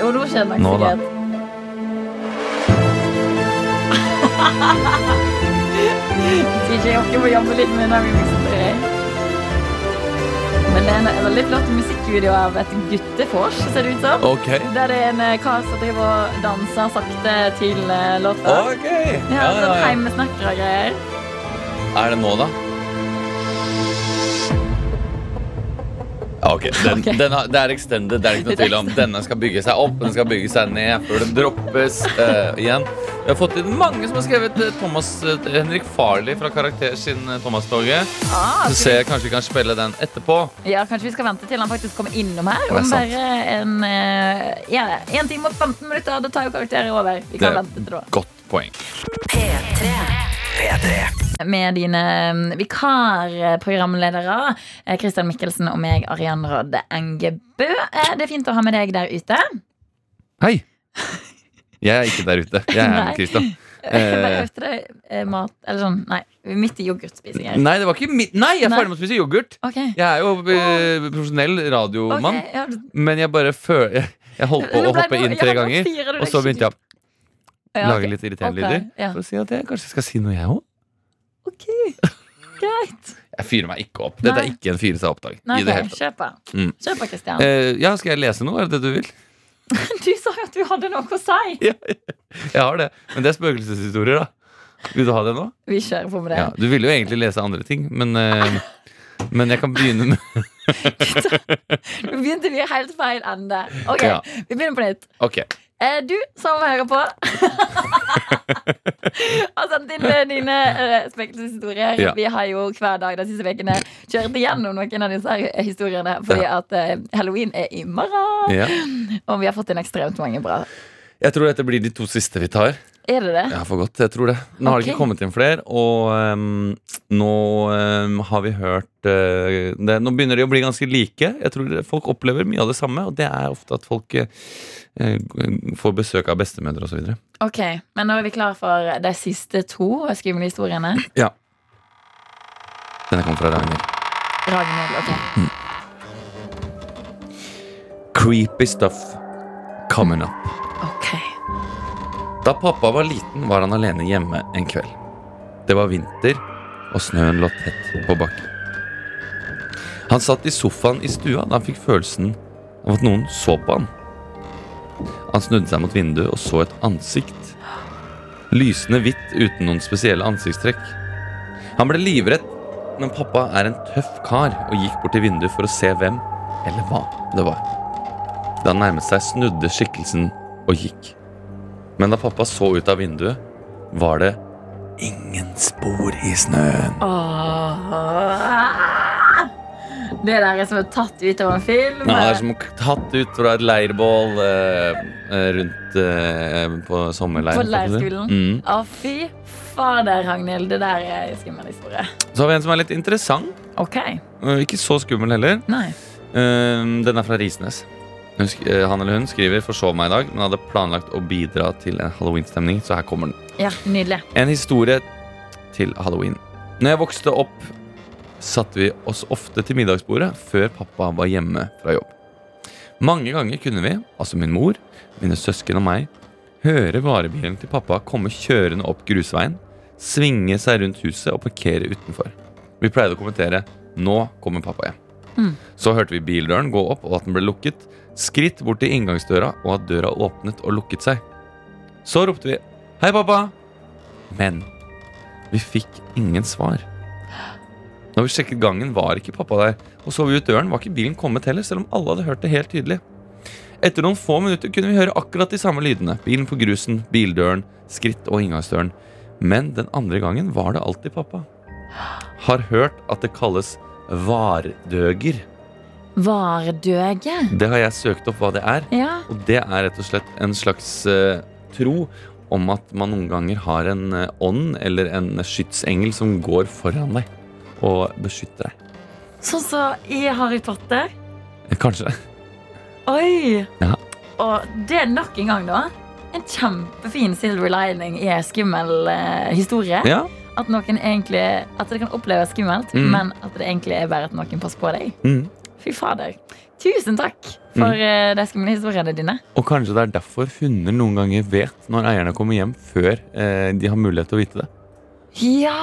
Jo, nå skjer det Nå nok da. sikkert. DJ Jokke må jobbe litt med den remixen til deg. Men det er en veldig flott musikkvideo av et guttefors, ser det ut som. Ok. Der det er en eh, kar som driver og danser sakte til eh, låta. Ok. Ja, Ja, ja, sånn ja. heimesnekker og greier. Er det nå, da? Ja, ok. Den, Ok. Den har, det er extended. det er det ikke noe tvil om. Denne skal bygge seg opp, den skal bygge seg ned før den droppes eh, igjen. Vi har fått inn mange som har skrevet eh, Thomas, eh, Henrik Farley fra Karakter sin eh, Thomas-toget. Ah, Så ser jeg kanskje vi kan spille den etterpå. Ja, Kanskje vi skal vente til han faktisk kommer innom her. Det er Om sant. bare en, eh, ja, en time og 15 minutter. Da tar jo karakteren over. Vi kan Det- vente til da. Godt poeng. Med dine eh, vikarprogramledere, eh, Christian Mikkelsen og meg, Arian Rodde Engebø. Eh, Det er fint å ha med deg der ute. Hei! Jeg er ikke der ute. Jeg er Nei. med Christian. Jeg bare Eh, øvde deg eh, mat Eller sånn, nei. vi er Midt i yoghurtspising her. nei, det var ikke mitt Nei, jeg er ferdig med å spise yoghurt! Ok. Jeg er jo eh, profesjonell ok, radiomann, ja, du- men jeg bare føler Jeg holdt Nå på å ble hoppe det- inn ja, tre nå ganger, firer du og deg så begynte jeg å Ja, ok. lage litt Ok, irriterende lyder. ja. For å si at jeg kanskje skal si noe, jeg òg. Ok, greit. Jeg fyrer meg ikke opp. Dette Nei. er ikke en fyre seg opp-dag. Nei, I det ok, hele tatt. kjøp den. Mm. Kjøp den, Christian. Eh, ja, skal jeg lese noe? Er det det du vil? Du sa jo at du hadde noe å si. Jeg har det. Men det er spøkelseshistorier, da. Vil du ha det nå? Vi kjører på med det. Ja, du ville jo egentlig lese andre ting, men, eh, men jeg kan begynne med Nå begynte vi i helt feil ende. Ok, Ja. Vi begynner på nytt. Ok. Eh, du som hører på, har sendt inn eh, dine eh, spøkelseshistorier. Ja. Vi har jo hver dag de siste ukene kjørt igjennom noen av disse her eh, historiene fordi at eh, halloween er i morgen. Ja. Og vi har fått inn ekstremt mange bra. Jeg tror dette blir de to siste vi tar. Er det det? Ja, for godt, jeg tror det Nå har det Ok. ikke kommet inn flere, og ehm, nå ehm, har vi hørt eh, det, Nå begynner de å bli ganske like. Jeg tror det- folk opplever mye av det samme, og det er ofte at folk eh, eh, får besøk av bestemødre osv. Ok, Men nå er vi klar for de siste to skumle historiene. Ja. Denne kom fra Ragnhild. Ragnhild, ok. Creepy stuff coming up. Ok. Da pappa var liten, var han alene hjemme en kveld. Det var vinter, og snøen lå tett på bakken. Han satt i sofaen i stua da han fikk følelsen av at noen så på han. Han snudde seg mot vinduet og så et ansikt. Lysende hvitt uten noen spesielle ansiktstrekk. Han ble livredd, men pappa er en tøff kar og gikk bort til vinduet for å se hvem eller hva det var. Da han nærmet seg, snudde skikkelsen og gikk. Men da pappa så ut av vinduet, var det ingen spor i snøen. Åh. Det der er som er tatt ut av en film. Ja, det er som tatt ut fra et leirbål eh, eh, rundt eh, på sommerleiren. På leirskolen? Mm. Å, fy fader, Ragnhild. Det der er en skummel historie. Så har vi en som er litt interessant. Ok, eh, Ikke så skummel heller. nei. Eh, den er fra Risnes. Hun, sk- eh, han eller hun skriver 'forsov meg i dag', men hadde planlagt å bidra til en halloweenstemning, så her kommer den. Ja, nydelig. En historie til halloween. Når jeg vokste opp, satte vi oss ofte til middagsbordet før pappa var hjemme fra jobb. Mange ganger kunne vi, altså min mor, mine søsken og meg, høre varebilen til pappa komme kjørende opp grusveien, svinge seg rundt huset og parkere utenfor. Vi pleide å kommentere 'Nå kommer pappa hjem'. Mm. Så hørte vi bildøren gå opp og at den ble lukket, skritt bort til inngangsdøra og at døra åpnet og lukket seg. Så ropte vi 'Hei, pappa'. Men vi fikk ingen svar. Når vi sjekket gangen, var ikke pappa der. Og så vi ut døren, var ikke bilen kommet heller, selv om alle hadde hørt det helt tydelig. Etter noen få minutter kunne vi høre akkurat de samme lydene. Bilen på grusen, bildøren, skritt og inngangsdøren. Men den andre gangen var det alltid pappa. Har hørt at det kalles vardøger. Vardøge? Det har jeg søkt opp hva det er. Ja. Og det er rett og slett en slags eh, tro om at man noen ganger har en eh, ånd eller en skytsengel som går foran deg og beskytter deg. Sånn som i Harry Potter. Eh, Kanskje. Oi! Ja. Og det er nok en gang, da. En kjempefin silver lining i en skummel eh, historie. Ja, At, noen egentlig, at det kan oppleves skummelt, men at det egentlig er bare at noen passer på deg. Mm. Fy fader. Tusen takk for eh, de skumle historiene dine. Og kanskje det er derfor hunder noen ganger vet når eierne kommer hjem, før eh, de har mulighet til å vite det. Ja!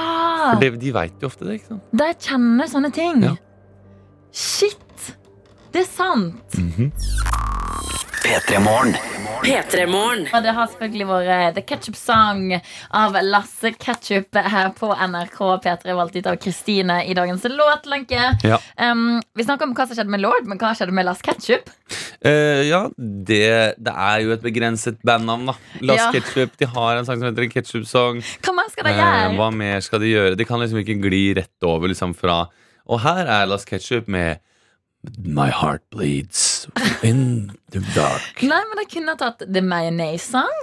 For det, de vet jo ofte det. ikke sant? De kjenner sånne ting. Ja. Shit! Det er sant. P3 Morgen. P3-morgen. Og det har selvfølgelig vært eh, The Ketchup Song av Lasse Ketchup her på NRK P3, valgt ut av Kristine i dagens låtlenke. Ja. Um, vi snakker om hva som skjedde med Lord, men hva skjedde med Lasse Ketchup? Eh, ja, det, det er jo et begrenset bandnavn, da. Las Ja. Ketchup. De har en sang som heter Ketchup Song. Hva mer skal de Eh, gjøre? hva mer skal de gjøre? De kan liksom ikke gli rett over liksom fra Og her er Las Ketchup med My heart bleeds in the dark. Nei, men de kunne ha tatt The Mayonnaise Song,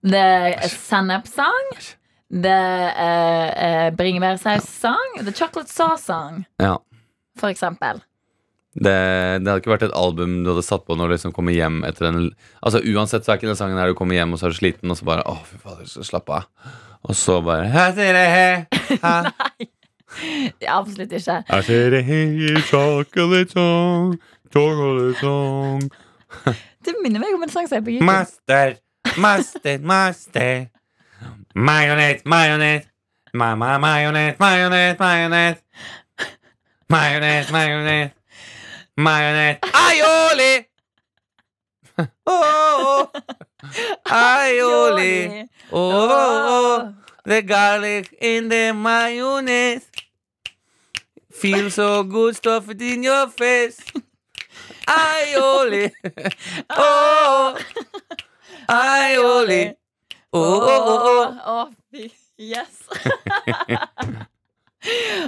The Sennep Song, The uh, Bringebærsaus Song, The Chocolate Sauce Song, Ja. for eksempel. Det, det hadde ikke vært et album du hadde satt på når du liksom kommer hjem etter en Altså Uansett så er ikke den sangen her du kommer hjem og så er du sliten, og så bare Å, fy fader, så slapp av. Og så bare «Hæ, sier det he, hæ?» Absolutt ikke. «Hæ, sier det he, Chocolate song, chocolate song. Det minner meg om en sang som er på YouTube. sånn». Master, master, master. Majonet, majonet. Ma, ma, majonet, majonet, majonet. Majonet, majonet. Majonet. Aioli! Oh, oh. Aioli. Oh, oh, oh. The garlic in the mayonnaise. Feel so good, stuff it in your face. Aioli. Oh, Eh, aioli. Oh, oh, oh. Å, fy. Yes.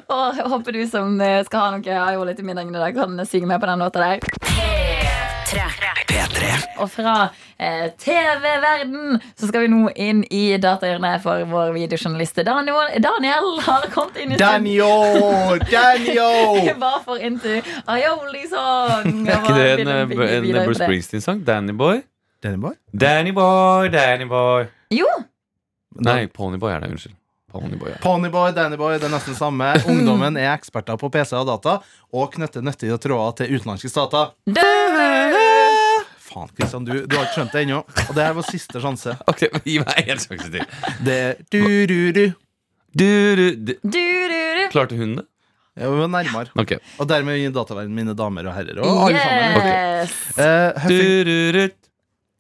Åh, jeg håper du som eh, skal ha noe aioli til middagen i dag, kan synge med på den låta der. Og fra eh, TV-verden så skal vi nå inn i datahjørnet for vår videojournalist Daniel. Daniel har kommet inn i studio. Daniel! Daniel! Hva for into aioli song? Er ikke det en, eh, en, en Bruce Springsteen-sang? Danny Boy? Denne boy? Danny Boy, Danny Boy. Jo, Nei, Ponyboy er det. Unnskyld. Ponyboy, ja. Ponyboy, Dannyboy, det er nesten det samme. Ungdommen er eksperter på PC og data og knytter nyttige tråder til utenlandske stater. Faen, Kristian, du, du har ikke skjønt det ennå. Og det her var siste sjanse. Ok, men Gi meg en sjanse til. Det er du-ru-ru. Du, du, du. du, du, du. Klarte hun det? Jeg var nærmere. Ok. Og dermed gir dataverdenen mine damer og herrer og alle sammen. Yes. Eh, Du, Huffing- du, du.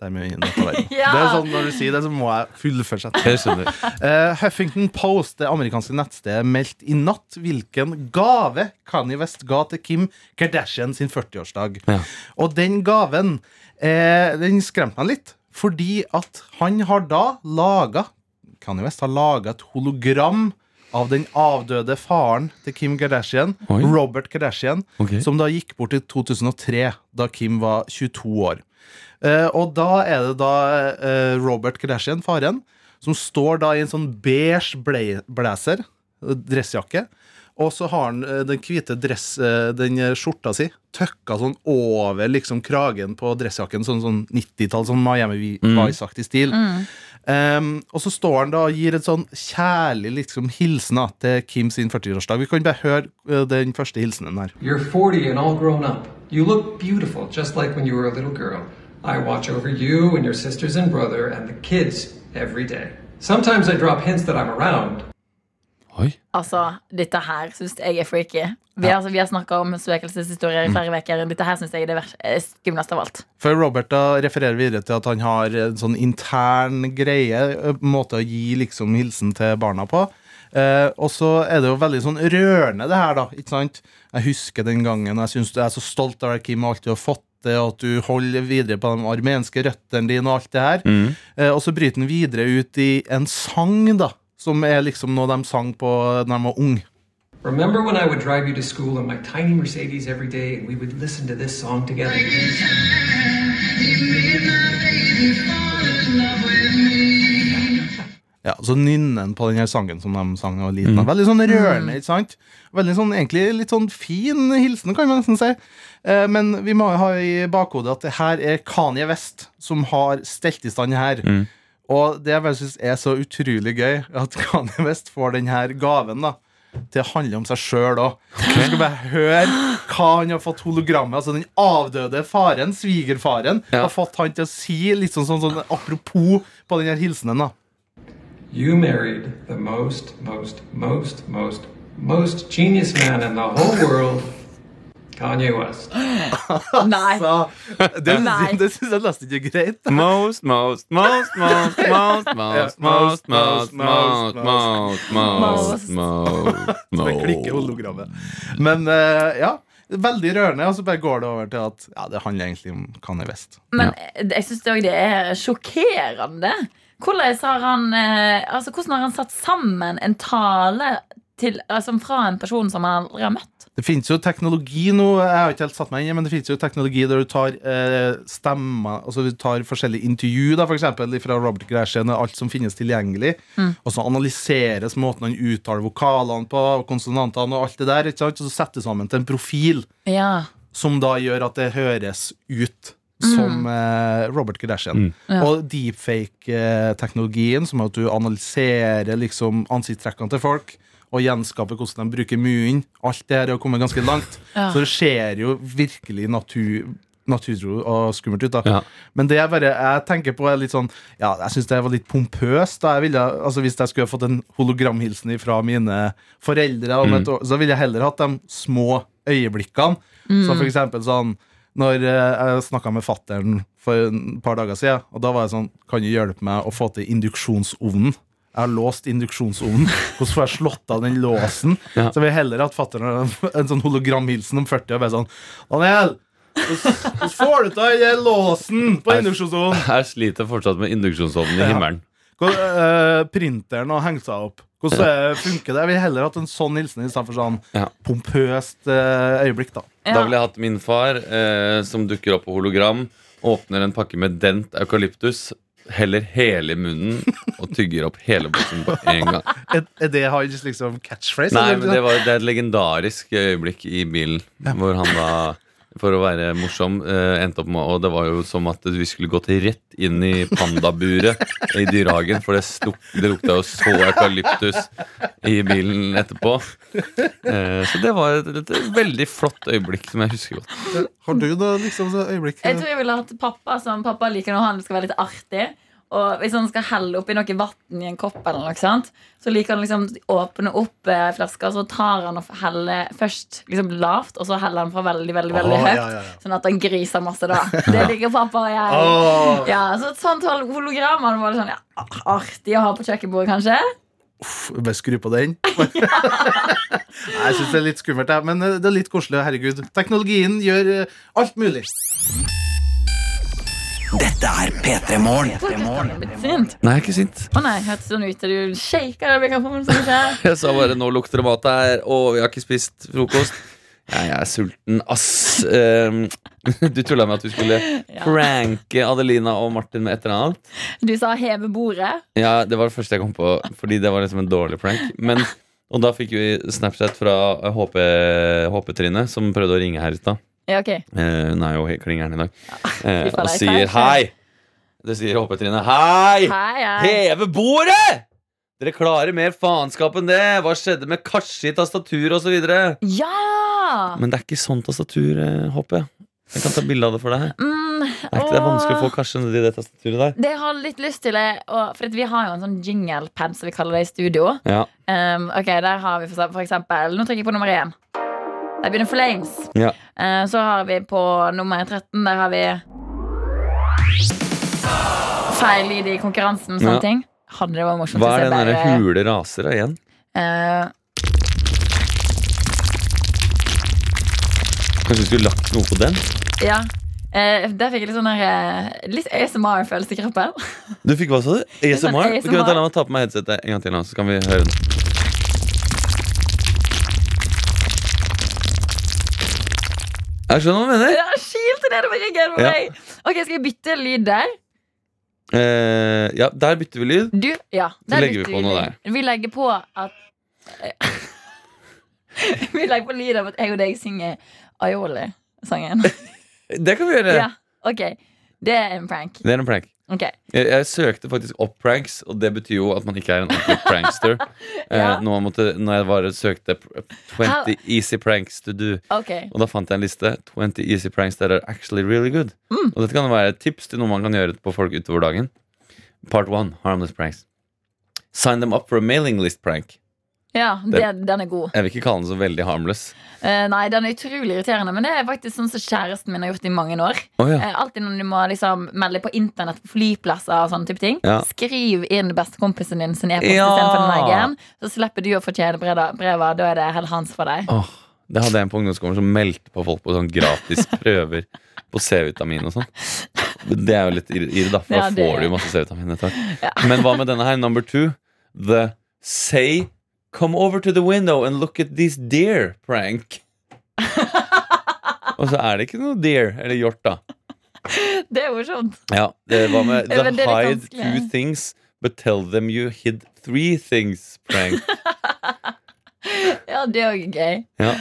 Dermed gir dataverdenen. Ja. Det er sånn Når du sier det, så må jeg fullføre setningen. Jeg skjønner. Eh, Huffington Post, det amerikanske nettstedet, meldte i natt hvilken gave Kanye West ga til Kim Kardashian sin 40-årsdag. Ja. Og den gaven eh, den skremte meg litt, fordi at han har da laga Kanye West har laga et hologram av den avdøde faren til Kim Kardashian, Oi. Robert Kardashian, Ok. som da gikk bort i 2003, da Kim var 22 år. Eh, og da er det da eh, Robert Kardashian, faren, som står da i en sånn beige ble- blazer, eh, dressjakke, og så har han eh, den hvite dress, eh, den eh, skjorta si tøkka sånn over liksom kragen på dressjakken, sånn, sånn 90-tall, sånn Miami Vice-aktig stil. Um, og så står han da og gir et sånn kjærlig liksom, hilsen da, til Kim sin 40-årsdag. Vi kan bare høre eh, den første hilsenen her. You're 40 and all grown up. You look beautiful, just like when you were a little girl. I watch over you and your sisters and brother and the kids every day. Sometimes I drop hints that I'm around. Oi. Altså, dette her syns jeg er freaky. Vi, altså, vi har snakka om spøkelseshistorier i flere uker. Dette her syns jeg er det vers- eh, skumleste av alt. For Robert da refererer videre til at han har en sånn intern greie, ø, måte å gi liksom hilsen til barna på. Eh, og så er det jo veldig sånn rørende, det her, da. ikke sant? Jeg husker den gangen, og jeg syns du er så stolt av deg, Kim, og alt du har fått til, og at du holder videre på de armenske røttene dine, og alt det her. Eh, og så bryter han videre ut i en sang, da, som er liksom noe de sang på da de var unge. Remember when I would drive you to school in my tiny Mercedes every day and we would listen to this song together? Ja, så nynner han på den her sangen som de sang da jeg var liten. Veldig sånn rørende, ikke sant? Veldig sånn, egentlig litt sånn fin hilsen, kan man nesten si. Eh, men vi må jo ha i bakhodet at det her er Kanye West som har stelt i stand det her. Og det jeg bare synes er så utrolig gøy, at Kanye West får denne gaven da til å handle om seg sjøl òg. Du skal bare høre hva han har fått hologrammet. Altså Den avdøde faren, svigerfaren, har fått han til å si litt sånn, sånn, sånn apropos på den her hilsenen. da You married the most, most, most, most, most genius man in the whole world, Kanye West. Nei. Det, Nei. det syns jeg nesten ikke er greit. Most, most, most, most, most, most, most, most, most, most, most, most, Det klikker hologrammet. Men eh, ja, veldig rørende. Og så bare går det over til at ja, det handler egentlig om Kanye West. Men eh, jeg syns òg det er sjokkerende. Hvordan har han, eh, altså, hvordan har han satt sammen en tale til, altså, fra en person som han aldri har møtt? Det finnes jo teknologi nå, jeg har ikke helt satt meg inn i, men det finnes jo teknologi der du tar eh, stemmer, altså du tar forskjellige intervju, da, for eksempel fra Robert Gresham og alt som finnes tilgjengelig, Mm. og så analyseres måten han uttaler vokalene på, og konsonantene og alt det der, ikke sant? og så settes sammen til en profil Ja. som da gjør at det høres ut som eh, Robert Kardashian. Mm. Ja. Og deepfake-teknologien, som er at du analyserer liksom, ansiktstrekkene til folk og gjenskaper hvordan de bruker munnen. Alt det her er jo kommet ganske langt. Ja. Så det ser jo virkelig natur, naturtro og skummelt ut. da Men det jeg bare jeg tenker på, er litt sånn Ja, jeg syns det var litt pompøst. da jeg ville, altså Hvis jeg skulle ha fått en hologramhilsen fra mine foreldre, om Mm. et år, så ville jeg heller hatt de små øyeblikkene. Mm. Så for eksempel sånn Når eh, jeg snakka med fattern for et par dager siden, og da var jeg sånn Kan du hjelpe meg å få til induksjonsovnen? Jeg har låst induksjonsovnen. Hvordan får jeg slått av den låsen? Ja. Så jeg vil heller at fattern har en sånn hologramhilsen om 40 og bare sånn Daniel, hvordan hvordan får du til den der låsen på induksjonsovnen? Jeg sliter fortsatt med induksjonsovnen i Ja. himmelen. Hvor, eh, printeren og hengte seg opp. Hvordan eh, funker det? Jeg vil heller hatt en sånn hilsen istedenfor sånn pompøst eh, øyeblikk, da. Da ville jeg hatt min far, eh, som dukker opp på hologram, åpner en pakke med dent eukalyptus, heller hele i munnen og tygger opp hele boksen på en gang. Er, er det hans liksom catchphrase? Nei, eller? men det, var, det er et legendarisk øyeblikk i bilen hvor han da for å være morsom, eh, endte opp med Og det var jo som at vi skulle gått rett inn i pandaburet i dyrehagen, for det, stuk, det lukta jo så eukalyptus i bilen etterpå. Eh, så det var et, et veldig flott øyeblikk som jeg husker godt. Har du noe liksom, så øyeblikk? Jeg tror jeg ville hatt pappa som pappa liker når han skal være litt artig. Og hvis han skal helle oppi noe vann i en kopp, eller noe, sant? så liker han liksom å åpne opp eh, flaska, så tar han og heller først liksom lavt, og så heller han fra veldig veldig, veldig Åh, høyt. ja, ja, ja. Sånn at han griser masse da. Det liker pappa og jeg. Åh. Ja, så et sånt hol- hologram hadde vært sånn, ja, artig å ha på kjøkkenbordet, kanskje. Uff, Bare skru på den. Nei, jeg syns det er litt skummelt, jeg, men eh, det er litt koselig. Herregud. Teknologien gjør eh, alt mulig. Dette er P3 Morgen. Sint. Nei, jeg er ikke sint. Å nei, hørtes sånn ut. Du shaker av mikrofonen. som ikke er. Jeg sa bare 'nå lukter det mat her', og vi har ikke spist frokost. Jeg er sulten, ass. Ehm, du tulla med at vi skulle Ja. pranke Adelina og Martin med et eller annet. Du sa heve bordet. Ja, det var det første jeg kom på, fordi det var liksom en dårlig prank. Men, og da fikk vi Snapchat fra HP, HP-Trine, som prøvde å ringe her i stad. Ja, ok. Eh, hun er jo helt klingeren i dag. fy Eh, faen, og det er sier kleint, hei! Det sier HP-Trine. Hei! Hei, hei. Heve bordet! Dere klarer mer faenskap enn det! Hva skjedde med Karsi, tastatur osv.? Men Ja! det er ikke sånn tastatur, eh, HP. Jeg kan ta bilde av det for deg. Mm, Er ikke det åh. vanskelig å få Karsi nedi det tastaturet der? Det jeg har litt lyst til er å- For at vi har jo en sånn jinglepad som vi kaller det i studio. Ja. Um, ok, Der har vi for eksempel, for eksempel Nå trykker jeg på nummer én. Der begynner Flames. ja. Eh, så har vi på nummer 13 Der har vi feil lyd i konkurransen og sånne Ja. ting. Hadde det vært morsomt Hva hvis er jeg den derre bare- hule raser da, igjen? Eh, Kanskje vi skulle lagt noe på den? ja. Eh, der fikk jeg litt sånn der, eh, Litt ASMR-følelse i kroppen. Du fikk hva, sa du? er sånn ASMR? Ok, vent ASMR. da, La meg ta på meg headsetet en gang til, nå, så kan vi høre den. Jeg skjønner hva du mener. Ja, kilte nedover ryggen på Ja. meg. Ok, Skal jeg bytte lyd der? Eh, ja, der bytter vi lyd. Du, ja Så der legger vi bytter på noe lyd. der. Vi legger på at Vi legger på lyd av at jeg og deg synger Aioli-sangen Det kan vi gjøre. Ja, ok Det er en prank Det er en prank. Ok. Jeg, jeg søkte faktisk opp pranks, og det betyr jo at man ikke er en ordentlig prankster. Ja. eh, når, man måtte, når jeg bare søkte pr- 20 How- easy pranks to do. Ok. Og da fant jeg en liste. 20 easy pranks that are actually really good. Mm. Og dette kan være et tips til noe man kan gjøre på folk utover dagen. Part one, harmless pranks. Sign them up for a mailing list prank. Ja, det, den er god. Jeg vil ikke kalle den så veldig harmless. Eh, nei, den er utrolig irriterende, men det er faktisk sånn som kjæresten min har gjort i mange år. Å, ja. Eh, alltid når du må liksom melde på internett på flyplasser og sånne type ting, Ja. skriv inn bestekompisen din sin e-post Ja. istedenfor din egen. Så slipper du å fortjene brevet. brevet, Da er det hell hans for deg. Åh, det hadde jeg på ungdomsskolen som meldte på folk på sånn gratis prøver på C-vitamin og sånn. Men Det er jo litt irr, irr, da, for Ja, det da får du er. jo masse C-vitamin etter hvert. Men hva med denne her, number two? The say Come over to the window and look at this deer prank. og så er det ikke noe deer eller hjort, da. Det er morsomt. Ja, det var med Ja, The men det er litt hide vanskelig. two things, but tell them you hid three things prank. Ja, det er jo gøy. Ja.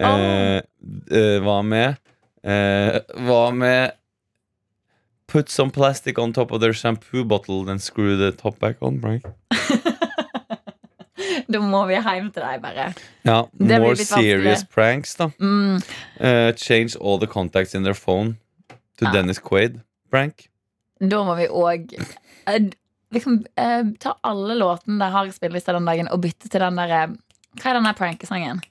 Eh, eh, hva med eh, Hva med Put some plastic on top of their shampoo bottle then screw the top back on, Frank. Da må vi hjem til deg, bare. Ja, Det blir more litt vanskelig. serious pranks, da. Mm. Eh, change all the contacts in their phone to Ja. Dennis Quaid. Prank. Da må vi òg liksom, eh, ta alle låtene der har i spillelista den dagen, og bytte til den derre Hva er den der prankesangen?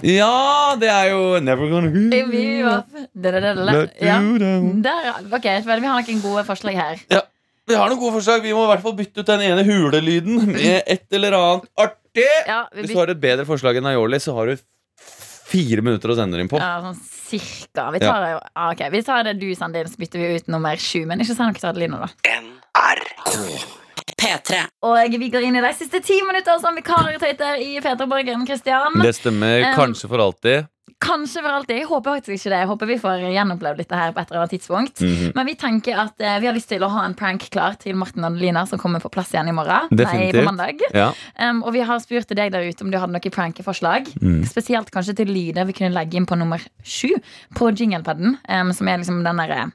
Ja, det er jo Never gonna If you are- Mm. da, da, da, da, da. Let Ja. you down. Der, ok, vel, Vi har noen gode forslag her. Vi har noen gode forslag. Vi må i hvert fall bytte ut den ene hulelyden med et eller annet artig. Ja, vi Hvis du byt- har et bedre forslag enn Aioli, så har du fire minutter å sende den inn på. ja, sånn cirka. Vi tar, jo- ah, ok, vi tar det du sendte inn, så bytter vi ut nummer sju. Men ikke si noe til Adelina, da. P3. Og vi går inn i de siste ti minutter som vikarer og tøyter i P3 Borgen. Kristian. Det stemmer Um, kanskje for alltid. Kanskje for alltid. Jeg håper faktisk ikke det. Jeg håper vi får gjenopplevd dette her på et eller annet tidspunkt. Mhm. Men vi tenker at eh, vi har lyst til å ha en prank klar til Martin og Adelina, som kommer på plass igjen i morgen. Nei, på mandag. Ja. Um, og vi har spurt til deg der ute om du hadde noen prankeforslag. Mm. Spesielt kanskje til lyder vi kunne legge inn på nummer sju på jinglepaden. Um, som er liksom den derre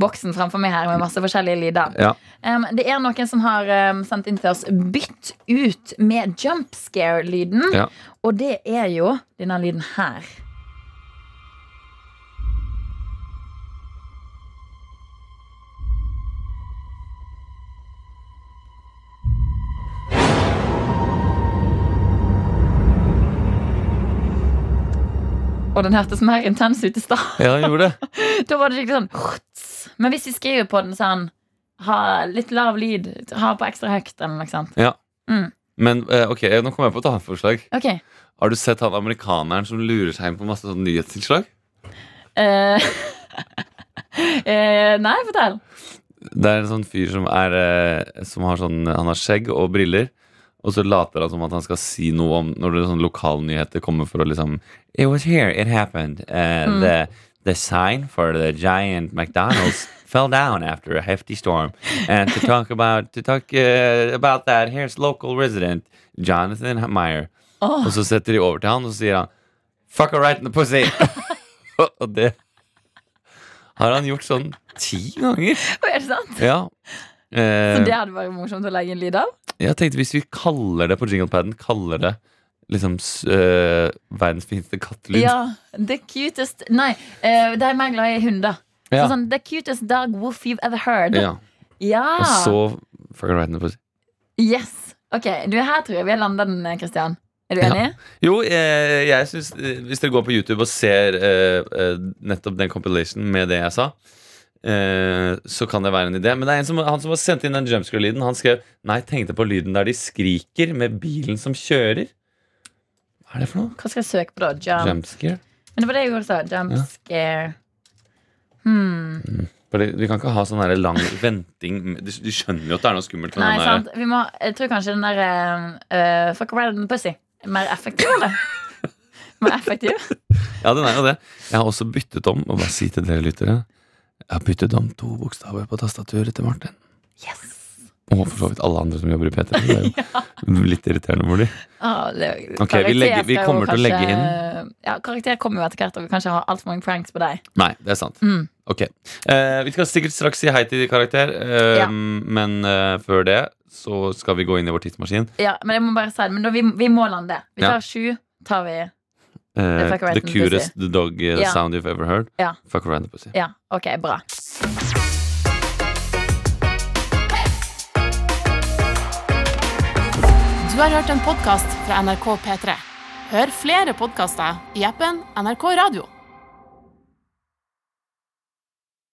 boksen framfor meg her med masse forskjellige lyder. Ja. Um, det er noen som har um, sendt inn til oss 'bytt ut med jump scare'-lyden. Ja. Og det er jo denne lyden her. Og den hørtes mer intens ut i stad. ja, han gjorde det. Da var det skikkelig sånn Men hvis vi skriver på den sånn Ha litt lav lyd, ha på ekstra høyt eller noe sånt. Ja. Mm. Men eh, ok, nå kommer jeg på et annet forslag. Ok. Har du sett han amerikaneren som lurer seg inn på masse sånn nyhetstilslag? Eh, eh, nei, fortell. Det er en sånn fyr som, er, eh, som har sånn Han har skjegg og briller. Og så later han som at han skal si noe om når det er sånn lokalnyheter kommer for å liksom It was here, it happened. Eh, Mm. the, the sign for the giant McDonald's fell down after a hefty storm. And to talk about, to talk, eh, about that, here's local resident Jonathan Meyer. Åh. Og så setter de over til han, og så sier han Fuck her right in the pussy. og det har han gjort sånn ti ganger. Å, Er det sant? Ja. Så Eh, det hadde vært morsomt å legge en lyd av? jeg tenkte hvis vi kaller det på jinglepaden, kaller det liksom s- eh, verdens fineste kattelyd. Ja. The cutest Nei, eh, de er mer glad i hunder. Ja. Så Sånn, the cutest dog woof you've ever heard. Ja. Ja. Og så fuck right in the pussy. Yes. Ok, du her tror jeg vi har landa den, Kristian. Er du Ja. enig? Jo, eh, jeg synes, eh, Hvis dere går på YouTube og ser eh, eh, nettopp den compilation med det jeg sa, eh, så kan det være en idé. Men det er en som, han som har sendt inn den jumpscare-lyden, han skrev Nei, tenkte på lyden der de skriker med bilen som kjører. Hva er det for noe? Hva skal jeg søke på da? Jump. Jumpscare? Men det var det jeg gjorde, sa. Jump Ja. scare. Hmm. Fordi Vi kan ikke ha sånn her lang venting. De, de skjønner jo at det er noe skummelt. med Nei, den der- sant. Vi må, jeg tror kanskje den der eh, eh, Fuck around and pussy er mer effektiv, eller? mer effektiv? Ja, den er jo det. Jeg har også byttet om, og bare si til dere lyttere Jeg har byttet om to bokstaver på tastaturet til Martin. Yes! Og for så vidt alle andre som jobber i P3. Det er jo litt irriterende for dem. Ah, det- Ok, vi karakter legger- vi skal jo kommer til å legge kanskje- Ja, Karakter kommer jo etter hvert, og vi kan ikke ha altfor mange pranks på deg. Nei, det er sant. Mm. Ok. Eh, vi skal sikkert straks si hei til karakter, eh, Ja. men eh, før det så skal vi gå inn i vår tidsmaskin. Ja, men jeg må bare si det, men da, vi, vi må lande. Vi tar Ja. sju. tar vi Eh, Fuck around the and pussy. cutest dog eh, Ja. sound you've ever heard. Ja. Fuck around the pussy. Ja, ok, bra. Du har hørt en podkast fra NRK P3. Hør flere podkaster i appen NRK Radio.